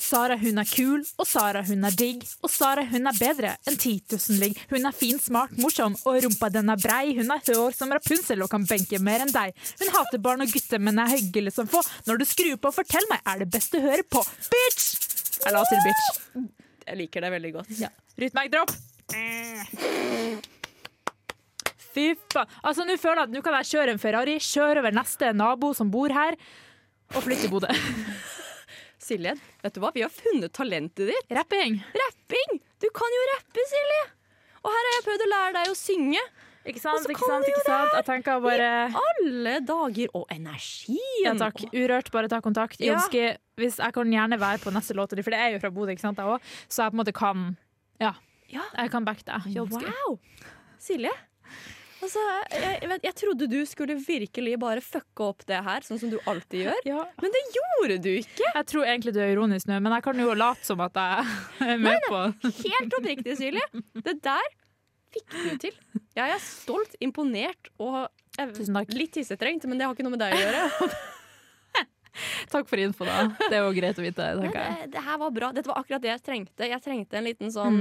S2: Sara hun er kul, og Sara hun er digg, og Sara hun er bedre enn 10 000 ligg. Hun er fin, smart, morsom, og rumpa den er brei. Hun har hår som Rapunzel og kan benke mer enn deg. Hun hater barn og gutter, men er hyggelig som få. Når du skrur på, fortell meg, er det best du hører på. Bitch! Jeg la til bitch.
S1: Jeg liker det veldig godt.
S2: Ja. Rytmeegg-dropp. Fy faen. Altså, nå føler jeg at nå kan jeg kjøre en Ferrari, kjøre over neste nabo som bor her, og flytte til Bodø.
S1: Silje, vet du hva? vi har funnet talentet ditt.
S2: Rapping.
S1: Rapping! Du kan jo rappe, Silje! Og her har jeg prøvd å lære deg å synge.
S2: Ikke
S1: Og
S2: sant,
S1: så
S2: ikke
S1: kan
S2: sant,
S1: vi jo
S2: ikke sant? Jeg tenker bare
S1: Alle dager og energien!
S2: ja, takk. Urørt, bare ta kontakt.
S1: Ja.
S2: Jonski, hvis jeg kan gjerne være på neste låt, for det er jo fra Bodø, ikke sant, jeg òg, så jeg på en måte kan Ja.
S1: Ja.
S2: Jeg kan backe deg. Jonski.
S1: Wow! Silje? Altså, jeg, jeg, vet- jeg trodde du skulle virkelig bare fucke opp det her, sånn som du alltid gjør.
S2: Ja.
S1: Men det gjorde du ikke!
S2: Jeg tror egentlig du er ironisk nå, men jeg kan jo late som at jeg er med på
S1: Helt oppriktig, Silje. Det der fikk du til. Jeg er stolt, imponert og jeg,
S2: Tusen takk.
S1: litt tissetrengt, men det har ikke noe med deg å gjøre.
S2: Takk for info, da. Det er jo greit å vite.
S1: Men eh,
S2: tenker jeg.
S1: det, det her var bra. Dette var akkurat det jeg trengte. Jeg trengte en liten sånn,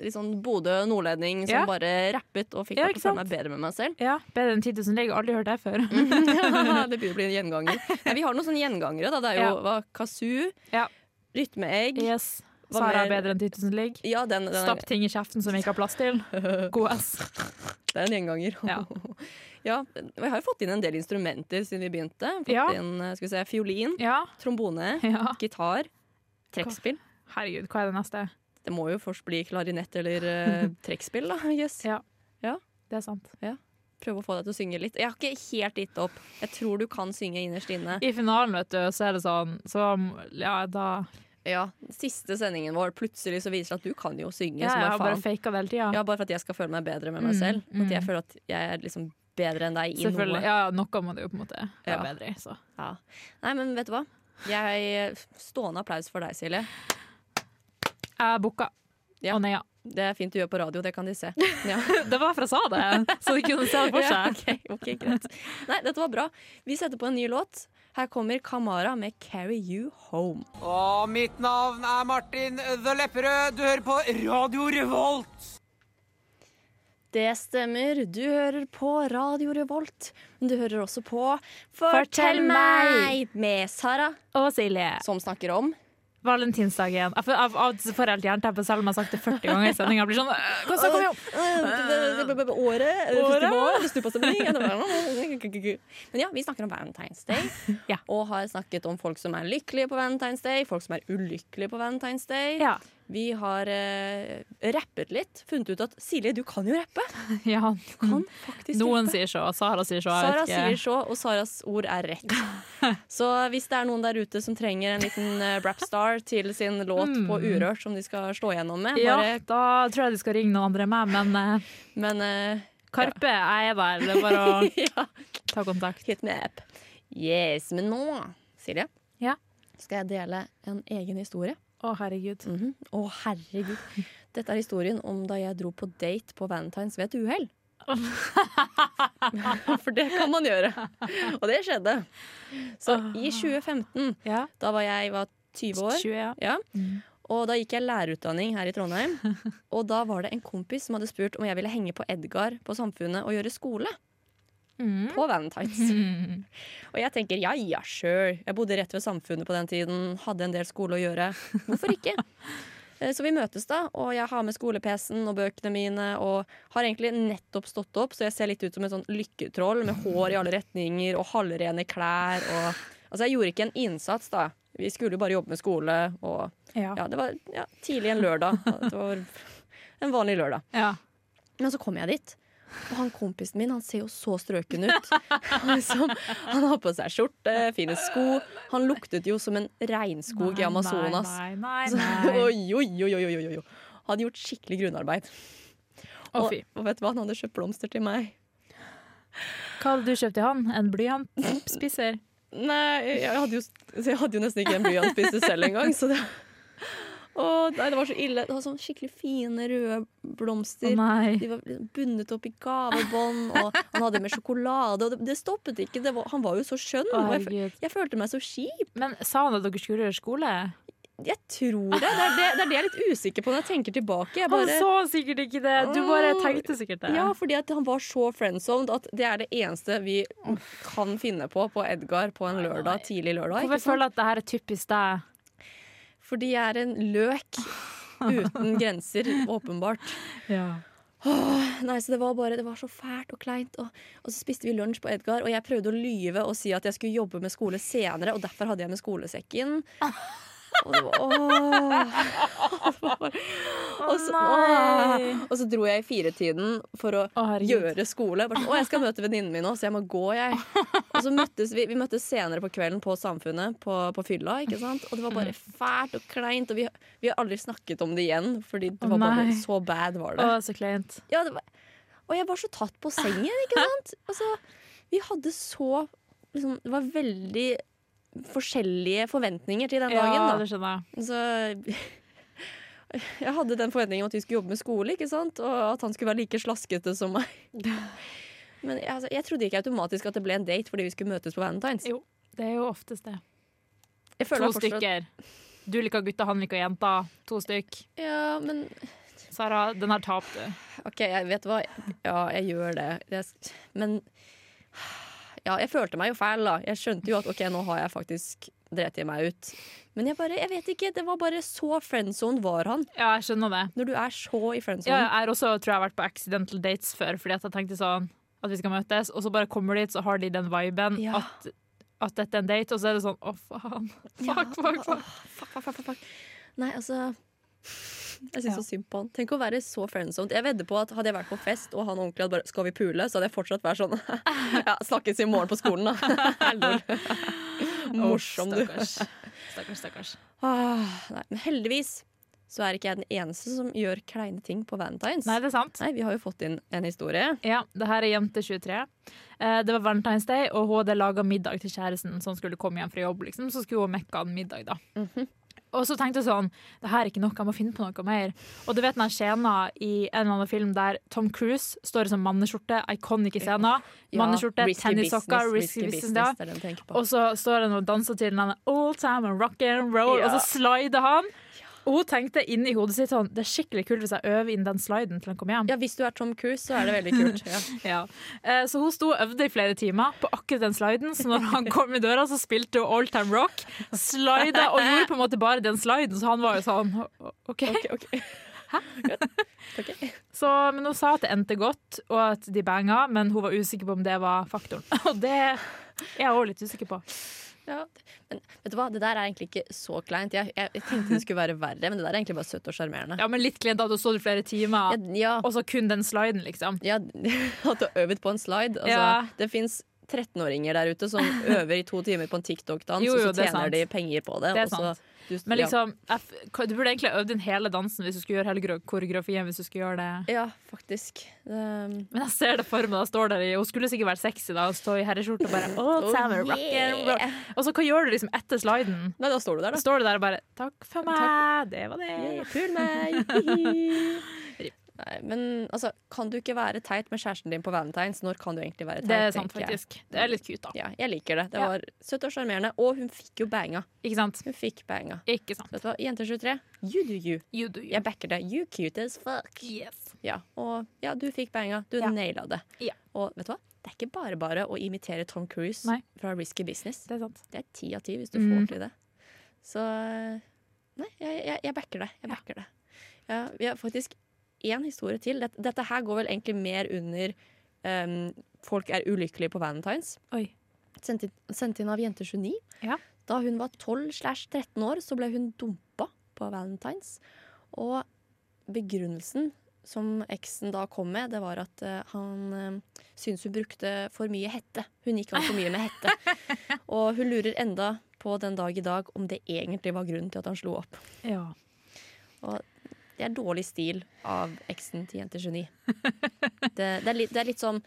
S1: litt sånn Bodø-nordlending som
S2: Mhm. Ja.
S1: bare rappet og fikk
S2: Ja,
S1: meg
S2: ikke
S1: til å føle
S2: sant?
S1: meg bedre med meg selv.
S2: Ja, Bedre enn 10 000 legg. Aldri hørt det før.
S1: Mm. Ja, det begynner å bli en gjenganger. Nei, vi har noen sånne gjengangere. Da. Det er jo
S2: Ja.
S1: hva, Kazoo,
S2: Ja.
S1: Rytmeegg
S2: Yes.
S1: Hva
S2: Sara er
S1: mer?
S2: bedre enn 10 000 ligg.
S1: Ja, den, den,
S2: Stapp
S1: er,
S2: ting i kjeften som ikke har plass til. God S.
S1: det er en gjenganger.
S2: Ja.
S1: Ja, og jeg har jo fått inn en del instrumenter siden vi begynte. Fått
S2: Ja.
S1: inn eh, skal vi se, fiolin,
S2: Ja.
S1: trombone,
S2: ja.
S1: gitar, trekkspill.
S2: Herregud, hva er det neste?
S1: Det må jo først bli klarinett eller eh, trekkspill, da. Yes.
S2: Ja. Det er sant.
S1: Prøve å få deg til å synge litt. Jeg har ikke helt gitt opp. Jeg tror du kan synge innerst inne.
S2: I finalen, vet du, så er det sånn så, Ja, da
S1: Ja, Siste sendingen vår, plutselig så viser det at du kan jo synge.
S2: ja,
S1: som
S2: Jeg
S1: bare
S2: har bare
S1: faen.
S2: faka det hele tida.
S1: Ja, bare for at jeg skal føle meg bedre med meg
S2: Mm,
S1: selv.
S2: mm.
S1: At jeg føler at jeg er liksom bedre enn deg i
S2: Selvfølgelig.
S1: noe.
S2: Ja, noe må det jo på en måte være
S1: Ja.
S2: bedre i, så.
S1: Nei, men vet du hva? Jeg eh, Stående applaus for deg, Silje.
S2: Jeg booka.
S1: Ja.
S2: Å nei, ja.
S1: Det er fint du gjør på radio, det kan de se. Ja.
S2: Det var derfor jeg sa det, så de kunne se det for
S1: Ja,
S2: seg.
S1: ok, ok, greit. Nei, dette var bra. Vi setter på en ny låt. Her kommer Kamara med 'Carry You Home'.
S8: Og mitt navn er Martin The Lepperød. Du hører på Radio Revolt.
S1: Det stemmer. Du hører på Radio Revolt, men du hører også på
S2: Fortell meg!
S1: med Sara,
S2: Og Silje.
S1: som snakker om
S2: Valentinsdagen. Jeg får- Av og til får jeg helt jernteppe selv om jeg har sagt det 40 ganger i sendinga. Blir sånn «Øh, Hva snakker vi om?
S1: Året, året. festival, Men ja, vi snakker om Valentine's Day.
S2: Ja.
S1: Og har snakket om folk som er lykkelige på Valentine's Day, folk som er ulykkelige på Valentine's Day.
S2: Ja.
S1: Vi har eh, rappet litt. Funnet ut at Silje, du kan jo rappe.
S2: ja.
S1: Du kan faktisk
S2: Mm. Noen
S1: rappe.
S2: sier så, og Sara sier så.
S1: Sara
S2: Jeg
S1: sier
S2: vet ikke.
S1: så, og Saras ord er rett. Så hvis det er noen der ute som trenger en liten eh, rapstar til sin låt på Urørt som de skal slå gjennom med,
S2: Mm. Ja,
S1: bare,
S2: da tror jeg de skal ringe noen andre enn meg, men eh,
S1: men eh,
S2: Karpe, jeg er der. Det er bare å
S1: ja.
S2: ta kontakt.
S1: Hit me up. Yes, men nå, Silje,
S2: Ja.
S1: skal jeg dele en egen historie.
S2: Å, herregud.
S1: Mhm. Å, herregud. Dette er historien om da jeg dro på date på Valentine's ved et uhell. For det kan man gjøre. Og det skjedde. Så i 2015,
S2: Ja.
S1: da var jeg var 20 år,
S2: 20, ja.
S1: ja. Og da gikk jeg lærerutdanning her i Trondheim. Og da var det en kompis som hadde spurt om jeg ville henge på Edgar på Samfunnet og gjøre skole
S2: Mm.
S1: på Valentine's. Og jeg tenker ja, ja, sure. Jeg bodde rett ved Samfunnet på den tiden, hadde en del skole å gjøre. Hvorfor ikke? Eh, Så vi møtes da, og jeg har med skole-PC-en og bøkene mine. Og har egentlig nettopp stått opp, så jeg ser litt ut som en sånn lykketroll med hår i alle retninger og halvrene klær. Og, altså, jeg gjorde ikke en innsats, da. Vi skulle jo bare jobbe med skole, og
S2: Ja.
S1: ja, det var ja, tidlig en lørdag. Det var en vanlig lørdag.
S2: ja.
S1: Men så kom jeg dit. Og han kompisen min han ser jo så strøken ut. Liksom, han har på seg skjorte, fine sko. Han luktet jo som en regnskog i Amazonas.
S2: Nei, nei,
S1: Så-
S2: nei. nei.
S1: Oi, oi, oi, oi, oi, oi, oi. Han hadde gjort skikkelig grunnarbeid.
S2: Å,
S1: Og,
S2: fy.
S1: og vet du hva, han hadde kjøpt blomster til meg.
S2: Hva hadde du kjøpt til han? En blyantspisser?
S1: Nei, jeg hadde jo, så jeg hadde jo nesten ikke en blyantspisse selv engang. Så det, Å, nei, det var så ille. Det var sånn skikkelig fine, røde
S2: Å
S1: blomster.
S2: nei.
S1: De var liksom bundet opp i gavebånd, og han hadde med sjokolade. Og det, det stoppet ikke. Det var, han var jo så skjønn.
S2: Å,
S1: Og jeg,
S2: herregud.
S1: fø- jeg følte meg så skip.
S2: Men sa han at dere skulle gjøre skole?
S1: Jeg tror det. Det er det, det er det jeg er litt usikker på når jeg tenker tilbake. Jeg
S2: Han
S1: bare,
S2: så sikkert ikke det! Du bare tenkte sikkert det.
S1: ja, fordi at han var så friendzoned at det er det eneste vi kan finne på på Edgar på en lørdag, tidlig lørdag.
S2: Hvorfor
S1: Ikke sant?
S2: føler jeg at det her er typisk deg?
S1: Fordi jeg er en løk uten grenser, åpenbart.
S2: Ja.
S1: Nei, så det var bare, det var så fælt og kleint. Og, og så spiste vi lunsj på Edgar, og jeg prøvde å lyve og si at jeg skulle jobbe med skole senere, og derfor hadde jeg med skolesekken. Og, det var, åh. og, så, åh.
S2: nei.
S1: og så dro jeg i firetiden for å
S2: Å, herregud.
S1: gjøre skole. Bare sånn, å, jeg skal møte venninnen min nå, så jeg må gå, jeg. Og så møttes vi, vi møttes senere på kvelden på Samfunnet, på, på fylla, ikke sant. Og det var bare
S2: Mm.
S1: fælt og kleint, og vi, vi har aldri snakket om det igjen, fordi det
S2: Å,
S1: var
S2: nei.
S1: bare så bad var det.
S2: Å, så kleint.
S1: Ja, det var, og jeg var så tatt på sengen, ikke sant? Altså, vi hadde så liksom, Det var veldig forskjellige forventninger til den
S2: Ja,
S1: dagen.
S2: det skjønner jeg.
S1: Da. Så jeg hadde den forventningen om at vi skulle jobbe med skole, ikke sant? og at han skulle være like slaskete som meg. Men jeg, altså, jeg trodde ikke automatisk at det ble en date fordi vi skulle møtes på Valentine's.
S2: Jo, det er jo oftest det.
S1: Jeg
S2: To
S1: føler meg fortsatt-
S2: stykker. Du liker gutter, han liker jenter. To stykk.
S1: Ja, men
S2: Sara, den her tapte du.
S1: OK, jeg vet hva. Ja, jeg gjør det. Jeg, men Ja, jeg følte meg jo fæl, da. Jeg skjønte jo at OK, nå har jeg faktisk dreti meg ut. Men jeg bare, jeg vet ikke. Det var bare så friendzone var han.
S2: Ja, jeg skjønner det.
S1: Når du er så i
S2: Ja,
S1: friendzone.
S2: jeg er også, tror jeg har vært på accidental dates før, fordi at jeg tenkte sånn at vi skal møtes, og så bare kommer du dit, så har de den viben
S1: Ja.
S2: at, at dette er en date, og så er det sånn å faen. Fuck, fuck,
S1: åh, fuck,
S2: fuck.
S1: fuck, fuck, fuck, fuck. Nei, altså Jeg syns
S2: Ja.
S1: så synd på han. Tenk å være så friendzoned. Jeg vedder på at hadde jeg vært på fest og han ordentlig hadde bare Skal vi pule? Så hadde jeg fortsatt vært sånn Ja, snakkes i morgen på skolen, da. Lol. Morsom, du.
S2: Stakkars. Stakkars, stakkars.
S1: Ah, nei, men heldigvis så er ikke jeg den eneste som gjør kleine ting på Valentine's.
S2: Nei, det er sant.
S1: Nei, vi har jo fått inn en historie.
S2: Ja, det her er jente 23. Eh, Det var Valentine's Day, og hun hadde laga middag til kjæresten som skulle komme hjem fra jobb. Liksom. Så skulle hun mekke en middag, da.
S1: Mhm.
S2: Og så tenkte jeg sånn Det her er ikke nok, jeg må finne på noe mer. Og du vet den scenen i en eller annen film der Tom Cruise står i sånn manneskjorte, ikoniske scener. Manneskjorte,
S1: risky
S2: tennissokker,
S1: business,
S2: risky business. Ja.
S1: det er det jeg tenker på.
S2: Og så står han og danser til den der All time and rock and roll,
S1: Ja.
S2: og så slider han. Og hun tenkte inni hodet sitt sånn, det er skikkelig kult hvis jeg øver inn den sliden til han kommer hjem.
S1: Ja, Hvis du er Tom Cruise, så er det veldig kult. Ja.
S2: Ja. Eh, Så hun sto og øvde i flere timer på akkurat den sliden, så når han kom i døra, så spilte hun All Time Rock. Slida og gjorde på en måte bare den sliden, så han var jo sånn OK.
S1: Ok, ok.
S2: Så, men hun sa at det endte godt, og at de banga, men hun var usikker på om det var faktoren. Og det er jeg òg litt usikker på.
S1: Ja. Men vet du hva, det der er egentlig ikke så kleint. Jeg, jeg, jeg tenkte det skulle være verre, men det der er egentlig bare søtt og sjarmerende.
S2: Ja, men litt klient at hun stod i flere timer,
S1: Ja,
S2: og så kun den sliden, liksom.
S1: ja, at du har øvd på en slide. Altså,
S2: Ja.
S1: Det fins 13-åringer der ute som øver i to timer på en TikTok-dans,
S2: Jo,
S1: og
S2: jo,
S1: så
S2: det er
S1: tjener
S2: sant.
S1: de penger på det.
S2: Det
S1: og
S2: er
S1: så-
S2: sant.
S1: Du,
S2: Men liksom, jeg, f- du burde egentlig øvd inn hele dansen hvis du skulle gjøre hele gro- koreografien. hvis du skulle gjøre det.
S1: ja, ja, faktisk. Ehm, Det-
S2: Men jeg ser det for meg, da står der i Hun skulle sikkert vært sexy da, og stå i herreskjorte og bare oh, Summer, rock and roll. Og så hva gjør du liksom etter sliden?
S1: Nei, da står du der, da.
S2: Står du der og bare Takk for meg, det var det.
S1: Yeah, Pul meg! Hihi. Nei, men altså, kan du ikke være teit med kjæresten din på valentines? Når kan du egentlig være teit?
S2: Det er sant,
S1: tenker jeg.
S2: faktisk. Det er litt cute, da.
S1: Ja, jeg liker det. Det
S2: Ja.
S1: var søtt og sjarmerende. Og hun fikk jo banga.
S2: Ikke sant?
S1: Hun fikk banga.
S2: Ikke sant.
S1: Vet du hva, Jenter 23, you do you.
S2: You do you.
S1: Jeg backer det. You cute as fuck.
S2: Yes.
S1: Ja, og ja, du fikk banga. Du
S2: Ja.
S1: naila det.
S2: Ja.
S1: Og vet du hva? Det er ikke bare bare å imitere Tom Cruise
S2: Nei.
S1: fra Risky Business.
S2: Det er sant.
S1: Det er ti av ti hvis du
S2: Mm.
S1: får til det. Så eh, nei, jeg, jeg, jeg backer det. Jeg backer det. Ja, vi har faktisk én historie til. Dette, dette her går vel egentlig mer under ehm, folk er ulykkelige på valentines.
S2: Oi.
S1: Sendt inn, sendt inn av jente 29.
S2: Ja.
S1: Da hun var 12-13 år, så ble hun dumpa på valentines. Og begrunnelsen som eksen da kom med, det var at eh, han eh, syntes hun brukte for mye hette. Hun gikk altfor mye med hette. Og hun lurer enda på den dag i dag om det egentlig var grunnen til at han slo opp.
S2: Ja.
S1: Det er dårlig stil av eksen til jente 29. Det, det, er, litt, det er litt sånn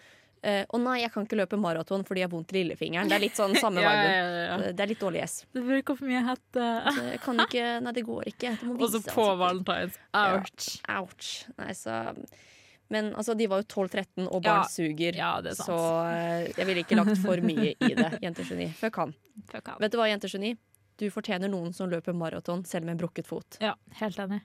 S1: eh, Å nei, jeg kan ikke løpe maraton fordi jeg har vondt i lillefingeren. Det er litt sånn samme
S2: Ja,
S1: viben.
S2: ja, ja, ja.
S1: Eh, Det er litt dårlig S.
S2: Det bruker for mye hette.
S1: Jeg kan ikke, nei det går ikke. Du må
S2: Og
S1: vise
S2: så på
S1: ansiktet.
S2: valentines. Ouch.
S1: Ouch. Nei, så um, Men altså, de var jo 12-13, og
S2: Ja.
S1: barn suger.
S2: Ja, det er sant.
S1: Så eh, jeg ville ikke lagt for mye i det, jentesgeni. For jeg kan.
S2: Fuck han.
S1: Vet du hva, jentesgeni? Du fortjener noen som løper maraton selv med en brukket fot.
S2: Ja, helt enig.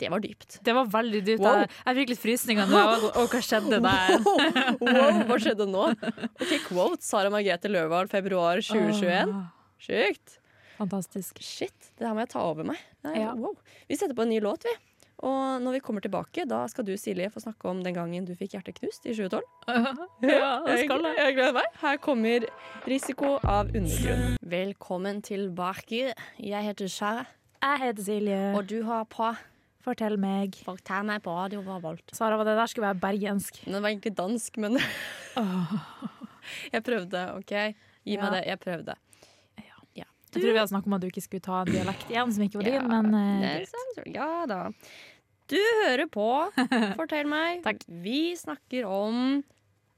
S1: Det var dypt.
S2: Det var veldig dyrt.
S1: Wow.
S2: Jeg- Jeg fikk litt frysninger nå. Og hva skjedde der?
S1: Wow, wow, hva skjedde nå? Ok, quote Sara Margrethe Løvdahl,
S2: Ah.
S1: februar 2021.
S2: Åh,
S1: Sjukt.
S2: Ah, Fantastisk.
S1: Shit, det her må jeg ta over meg. Det er,
S2: Ja.
S1: wow. Vi setter på en ny låt, vi. Og når vi kommer tilbake, da skal du, Silje, få snakke om den gangen du fikk hjertet knust i 2012.
S2: Ja, det skal jeg.
S1: jeg gleder meg. Her kommer 'Risiko av undergrunn'. Velkommen tilbake. Jeg heter Sara,
S2: Jeg heter Silje.
S1: og du har på
S2: Fortell meg.
S1: Fortell meg på radio hva valgt.
S2: Sara, var det der skulle være bergensk?
S1: Den var egentlig dansk, men Jeg prøvde, OK? Gi
S2: Ja.
S1: meg det. Jeg prøvde.
S2: Jeg tror vi hadde snakket om at du ikke skulle ta en dialekt igjen som ikke var din,
S1: Ja,
S2: men eh,
S1: det er sant. Ja da. Du hører på. Fortell meg.
S2: Takk.
S1: Vi snakker om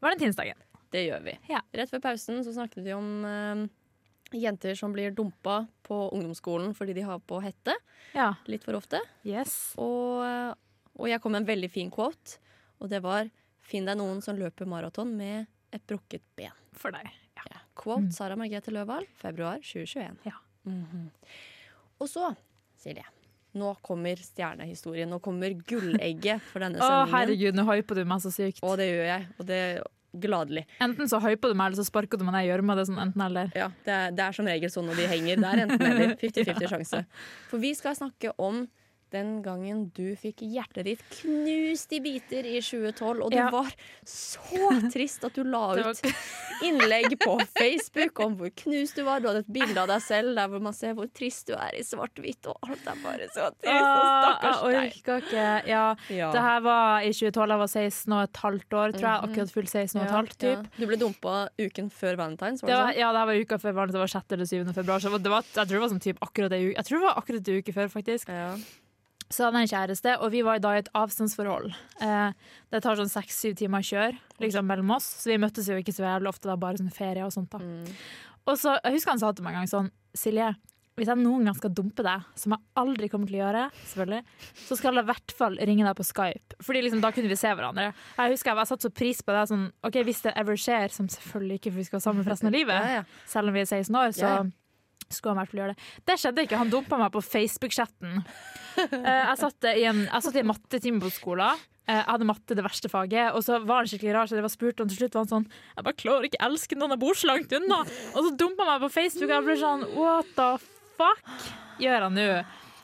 S2: valentinsdagen.
S1: Det gjør vi.
S2: Ja.
S1: Rett før pausen så snakket vi om eh, jenter som blir dumpa på ungdomsskolen fordi de har på hette
S2: Ja.
S1: litt for ofte.
S2: Yes.
S1: Og, eh, og jeg kom med en veldig fin quote, og det var Finn deg noen som løper maraton med et brukket ben.
S2: For deg. Ja.
S1: Ja. Quote Sara Margrethe Løvdahl, februar 2021.
S2: Mm. Ja.
S1: Mhm. Og så, Silje, nå kommer stjernehistorien. Nå kommer gullegget for denne
S2: Å,
S1: sendingen.
S2: herregud, nå hyper du meg så sykt.
S1: og det gjør jeg, og det gladelig.
S2: Enten så hyper du meg, eller så sparker du meg ned i gjørma. Det er sånn enten eller.
S1: Ja, det er, det er som regel sånn når de henger. Det er enten eller. 50-50 sjanse. For vi skal snakke om den gangen du fikk hjertet ditt knust i biter i 2012, og det
S2: Ja.
S1: var så trist at du la
S2: Det
S1: ut innlegg på Facebook om hvor knust du var. Du hadde et bilde av deg selv der hvor man ser hvor trist du er i svart-hvitt, og alt er bare så trist. Og
S2: Åh,
S1: stakkars
S2: jeg
S1: deg.
S2: orka ikke. Ah, Ja.
S1: Ja. Mhm.
S2: Det her var i 2012, jeg var 16 og et halvt år, tror jeg. Akkurat fullt 16 og et halvt, typ.
S1: Ja. Du ble dumpa uken før Valentine's, var
S2: Det
S1: det
S2: var,
S1: sånn?
S2: ja, det her var uka før valget, det var 6. eller 7. februar. Så det var, jeg tror det var sånn typ akkurat ei uke, jeg tror det var akkurat ei uke før, faktisk.
S1: Ja.
S2: Så hadde jeg en kjæreste, og vi var da i et avstandsforhold. Eh, det tar sånn seks-syv timer å kjøre liksom, mellom oss, så vi møttes jo ikke så jævlig ofte, da, bare sånn ferie og sånt. da. Og så, Jeg husker han sa til meg en gang sånn Silje, hvis jeg noen gang skal dumpe deg, som jeg aldri kommer til å gjøre, selvfølgelig, så skal jeg i hvert fall ringe deg på Skype. Fordi liksom, da kunne vi se hverandre. Jeg husker jeg, var- jeg satte så pris på det. sånn, ok, Hvis det ever skjer, som selvfølgelig ikke, for vi skal være sammen for resten av livet,
S1: Ja, ja.
S2: selv om vi er 16 år, så
S1: Ja, ja.
S2: Skulle han i hvert fall gjøre det. Det skjedde ikke, han dumpa meg på Facebook-chatten. Eh, Jeg satt i en, jeg satt i en mattetime på skolen. Eh, Jeg hadde matte det verste faget, og så var han skikkelig rar. Så det var spurt han til slutt var han sånn Jeg bare klarer ikke elske noen jeg bor så langt unna. Og så dumpa han meg på Facebook, og jeg ble sånn What the fuck gjør han nå?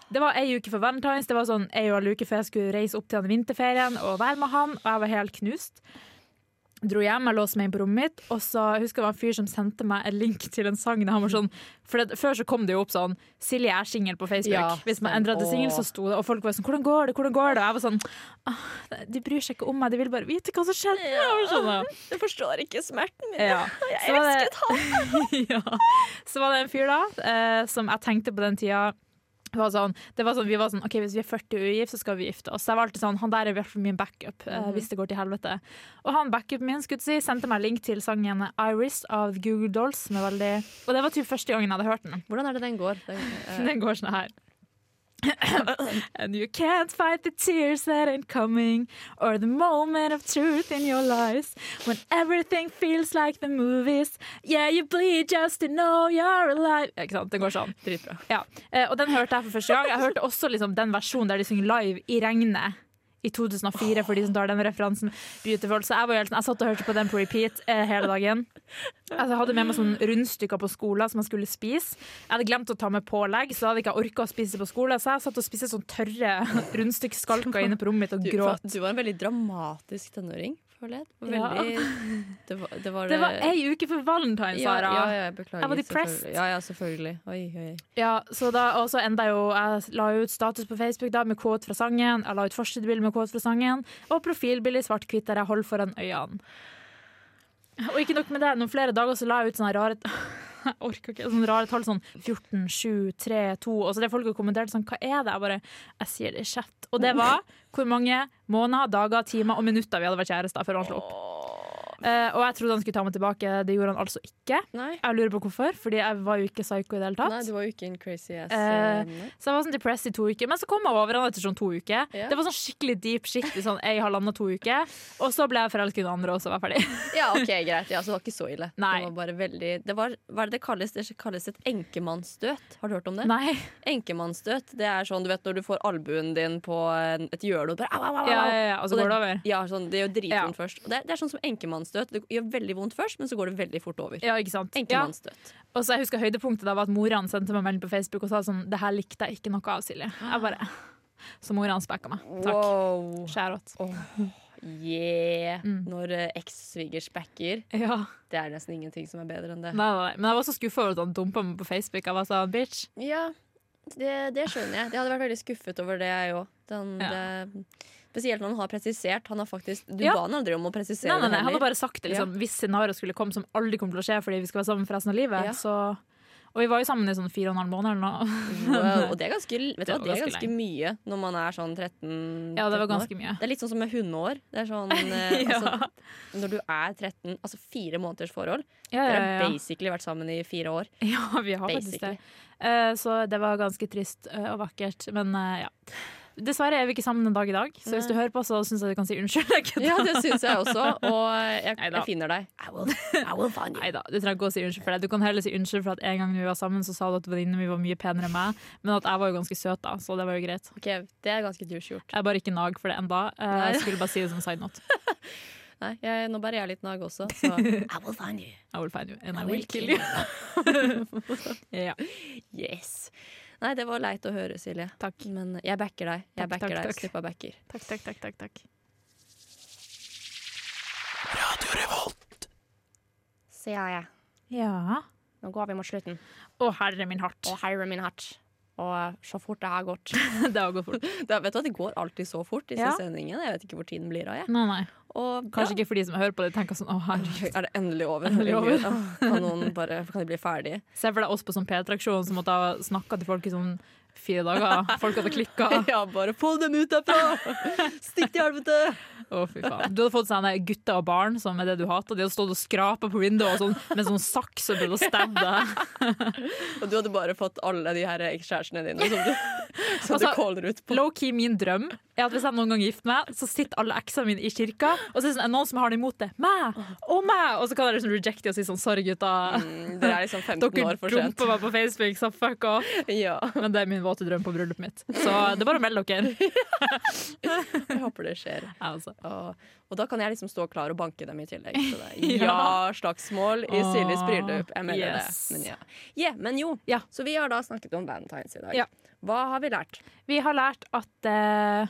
S2: Det var ei uke før Valentine's. Det var sånn ei og en uke før jeg skulle reise opp til han i vinterferien og være med han, og jeg var helt knust. Dro hjem, jeg låste meg inn på rommet mitt, og så jeg husker jeg det var en fyr som sendte meg en link til en sang. der Han var sånn, for det, Før så kom det jo opp sånn 'Silje er singel' på Facebook.
S1: Ja,
S2: Hvis man
S1: stemmer.
S2: endra til singel, så sto det, og folk var sånn 'Hvordan går det?' hvordan går det? Og jeg var sånn «Ah, De bryr seg ikke om meg, de vil bare vite hva som skjer. Jeg var sånn, ja.
S9: Du forstår ikke smerten min.
S2: Ja. Jeg elsket han! ja. Så var det en fyr da, eh, som jeg tenkte på den tida var sånn, det var sånn, Vi var sånn OK, hvis vi er 40 og ugift, så skal vi gifte oss. Så jeg var alltid sånn, Han der er i hvert fall min backup eh, hvis det går til helvete. Og han backupen min skulle jeg si, sendte meg link til sangen 'Iris' av The Google Dolls. Som er veldig, og det var typ første gangen jeg hadde hørt den.
S1: Hvordan er det den går? Den, eh,
S2: Den går sånn her. And you can't fight the tears that ain't coming, or the moment of truth in your lies. When everything feels like the movies, yeah, you bleed just to know you're alive. Ja, Ikke sant? Den går sånn.
S1: dritbra.
S2: Ja. Eh, Og den hørte jeg for første gang. Jeg hørte også liksom den versjonen der de synger live i regnet. I 2004, for de som tar den referansen. Beautiful. Så jeg, var jo helt, sånn- jeg satt og hørte på den på repeat eh, hele dagen. Altså, jeg hadde med meg sånn rundstykker på skolen som jeg skulle spise. Jeg hadde glemt å ta med pålegg, så da hadde jeg ikke orka å spise på skolen. Så jeg satt og spiste sånn tørre rundstykkeskalker inne på rommet mitt og
S1: Du,
S2: gråt.
S1: du var en veldig dramatisk tenåring, føler jeg. Det
S2: Ja.
S1: var Veldig, det var det, var
S2: Det var ei uke før valentine,
S1: ja,
S2: Sara.
S1: ja, ja, jeg beklager.
S2: Jeg var
S1: selvfølgelig.
S2: depressed.
S1: Ja, ja, selvfølgelig. Oi, oi.
S2: Ja, så da, og så enda jo Jeg la jo ut status på Facebook da med kåt fra sangen. Jeg la ut forsidebilde med kåt fra sangen. Og profilbilde i svart-hvitt der jeg holder foran øynene. Og ikke nok med det, noen flere dager så la jeg ut sånne rare Jeg orker ikke. Sånne rare tall sånn 14, 7, 3, 2. Og så det folk har kommentert sånn Hva er det? Jeg bare Jeg sier det i chat. Og det var hvor mange måneder, dager, timer og minutter vi hadde vært kjærester før han slo opp. Eh, og jeg trodde han skulle ta meg tilbake. Det gjorde han altså ikke.
S1: Nei.
S2: Jeg lurer på hvorfor, fordi jeg var jo ikke psycho i det hele tatt.
S1: Nei, du var jo ikke en crazy ass.
S2: Eh,
S1: eh, nei.
S2: Så jeg var sånn depressed i to uker, men så kom jeg over han etter sånn to uker.
S1: Ja.
S2: Det var sånn skikkelig deep shit i sånn ei halvannen to uker. Og så ble jeg forelsket i den andre, og så var jeg ferdig.
S1: Ja, ok, greit. Ja, så det var ikke så ille.
S2: Nei.
S1: Det var bare veldig det var, Hva er det det kalles? Det kalles et enkemannsstøt. Har du hørt om det?
S2: Nei.
S1: Enkemannsstøt, det er sånn du vet når du får albuen din på en- et hjørne og bare au, au, au, au.
S2: Ja, ja, ja. Og så går det over.
S1: Ja, sånn, det gjør
S2: Ja.
S1: dritvondt først. Og det, er- det er sånn som enkemannsstøt. Det gjør veldig vondt først, men så går det veldig fort over.
S2: Ja, ikke sant. Ja.
S1: Enkemannsstøt.
S2: Og så jeg husker høydepunktet da var at moren sendte meg melding på Facebook og sa sånn Det her likte jeg ikke noe av, Silje. Jeg bare Så moren spacka meg. Takk.
S1: Wow.
S2: Skjærot.
S1: Yeah.
S2: Mm.
S1: Når eh, eks-svigers backer,
S2: Ja.
S1: det er nesten ingenting som er bedre enn det.
S2: Nei, nei, nei. Men jeg var så skuffa over at han dumpa meg på Facebook. Jeg var sånn, bitch.
S1: Ja, det, det skjønner jeg. Jeg hadde vært veldig skuffet over det, jeg òg. Den-
S2: Ja.
S1: det- Spesielt når han har presisert. Han har faktisk, du
S2: Ja.
S1: ba han aldri om å presisere
S2: Nei, nei, nei,
S1: det
S2: han har
S1: heller.
S2: bare sagt det. Liksom. Hvis scenarioet skulle komme som aldri kommer til å skje fordi vi skal være sammen for resten av livet,
S1: Ja.
S2: så Og vi var jo sammen i sånn fire og en halv måned eller noe.
S1: Wow. Og det er ganske, vet du,
S2: Det
S1: hva,
S2: var
S1: det er
S2: ganske
S1: ganske mye når man er sånn 13
S2: Ja, det var
S1: 13 år.
S2: ganske mye.
S1: Det er litt sånn som med hundeår. Det er sånn, eh,
S2: Ja.
S1: altså, når du er 13, altså fire måneders forhold
S2: Ja,
S1: Dere
S2: ja,
S1: har
S2: ja.
S1: basically vært sammen i fire år.
S2: ja vi har faktisk det.
S1: Basically.
S2: Eh, Så det var ganske trist eh, og vakkert, men eh, ja. Dessverre er vi ikke sammen en dag i dag, så hvis du hører på, så syns jeg du kan si unnskyld. Jeg kødder.
S1: Ja, det syns jeg også. Og jeg,
S2: Neida.
S1: jeg finner deg.
S10: I will, I will find you.
S2: Neida, du trenger ikke å si unnskyld for det. Du kan heller si unnskyld for at en gang vi var sammen, så sa du at venninnen min var mye penere enn meg, men at jeg var jo ganske søt da, så det var jo greit.
S1: Ok, det er ganske douche gjort.
S2: Jeg er bare ikke nag for det enda. Eh, Jeg skulle bare si det som side note.
S1: Nei, jeg, nå bærer jeg litt nag også, så
S10: I will find you.
S2: I will find you, and I
S10: will
S2: will kill you. ja.
S1: Yes. Nei, det var leit å høre, Silje.
S2: Takk.
S1: Men jeg backer deg. Jeg
S2: Takk,
S1: backer
S2: takk,
S1: deg.
S2: takk.
S1: Slipper backer.
S2: Takk, takk, takk, takk, takk.
S9: Sier jeg.
S2: Ja.
S9: Nå går vi mot slutten.
S2: Å, herre min hardt.
S9: Og herre min hatt. Og så fort det har gått.
S2: Det har gått fort.
S1: Det, vet du, hva, det går alltid så fort, disse
S2: Ja.
S1: sendingene. Jeg vet ikke hvor tiden blir av. Jeg.
S2: Nei, nei.
S1: Og,
S2: Kanskje
S1: ja.
S2: ikke for de som hører på det, tenker sånn å herregud.
S1: Er det endelig over?
S2: Endelig over.
S1: Herregud, åh, Kan noen bare Kan de bli ferdige?
S2: Se for deg oss på sånn P-traksjon som måtte ha snakka til folk i sånn fire dager. Folk hadde klikka.
S1: Ja, bare få dem ut derfra! Stikk til helvete!
S2: Å, fy faen. Du hadde fått sånne gutter og barn som er det du hater. De hadde stått og skrapa på vinduet og sånn, med sånn saks og prøvd å stabbe deg.
S1: Og du hadde bare fått alle de her ekskjærestene dine som du, som
S2: Altså,
S1: du caller ut på.
S2: Low-key min drøm er at hvis jeg noen gang gifter meg, så sitter alle eksene mine i kirka, og så er det sånn, er det noen som har det imot det. Meg! Og meg! Og så kan jeg liksom rejecte og si sånn sorry, gutta.
S1: Dere er liksom 15
S2: Dere
S1: år for sent.
S2: dumpa meg på Facebook, så fuck off.
S1: Ja,
S2: Men det er min våte drøm på bryllupet mitt. Så det er bare å melde dere. Jeg,
S1: jeg håper det skjer.
S2: altså.
S1: Og, og da kan jeg liksom stå klar og banke dem i tillegg. Så det er,
S2: Ja.
S1: ja, slagsmål i Siljes
S2: Åh,
S1: bryllup. Jeg melder
S2: yes.
S1: det. Men, ja. Ja, men jo,
S2: Ja.
S1: så vi har da snakket om valentines i dag.
S2: Ja.
S1: Hva har vi lært?
S2: Vi har lært at eh,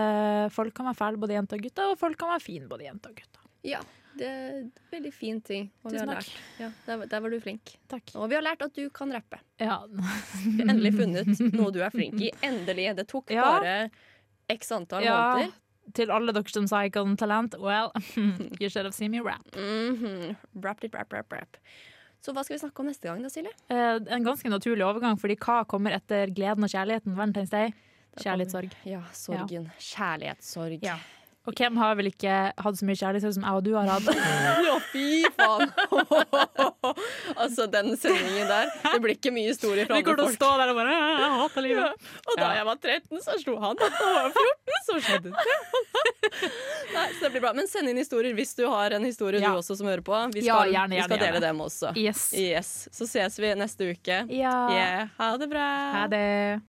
S2: eh, folk kan være fæle, både jenter og gutter, og folk kan være fine, både jenter og gutter.
S1: Ja, det er en veldig fin ting. Og vi
S2: Tusen
S1: har
S2: takk.
S1: lært. Ja, der, der var du flink.
S2: Takk.
S1: Og vi har lært at du kan rappe.
S2: Ja,
S1: Vi har endelig funnet noe du er flink i. Endelig. Det tok
S2: Ja.
S1: bare x antall
S2: ja.
S1: måneder.
S2: Til alle dere som sa jeg ikke hadde talent, well, you should have seen me rap.
S1: Mhm. Rap it, rap, rap, rap. Så hva skal vi snakke om neste gang, da, Silje?
S2: Eh, en ganske naturlig overgang, fordi hva kommer etter gleden og kjærligheten? Valentine's Day? Kjærlighetssorg.
S1: Ja, sorgen. Kjærlighetssorg.
S2: Ja. Og hvem har vel ikke hatt så mye kjærlighetssorg som jeg og du har hatt?
S1: Å, fy faen! altså, den sendingen der. Det blir ikke mye historie fra andre folk.
S2: der og bare Jeg hater livet.
S1: Og da
S2: Ja.
S1: jeg var 13, så slo han. Da var jeg 14, så skjedde det. Nei, så det blir bra. Men send inn historier hvis du har en historie
S2: Ja.
S1: du også som hører på. Vi
S2: Ja,
S1: skal,
S2: gjerne,
S1: vi skal
S2: gjerne, gjerne.
S1: dele dem også.
S2: Yes.
S1: Yes. Så ses vi neste uke.
S2: Ja.
S1: Yeah. Ha det bra.
S2: Ha det.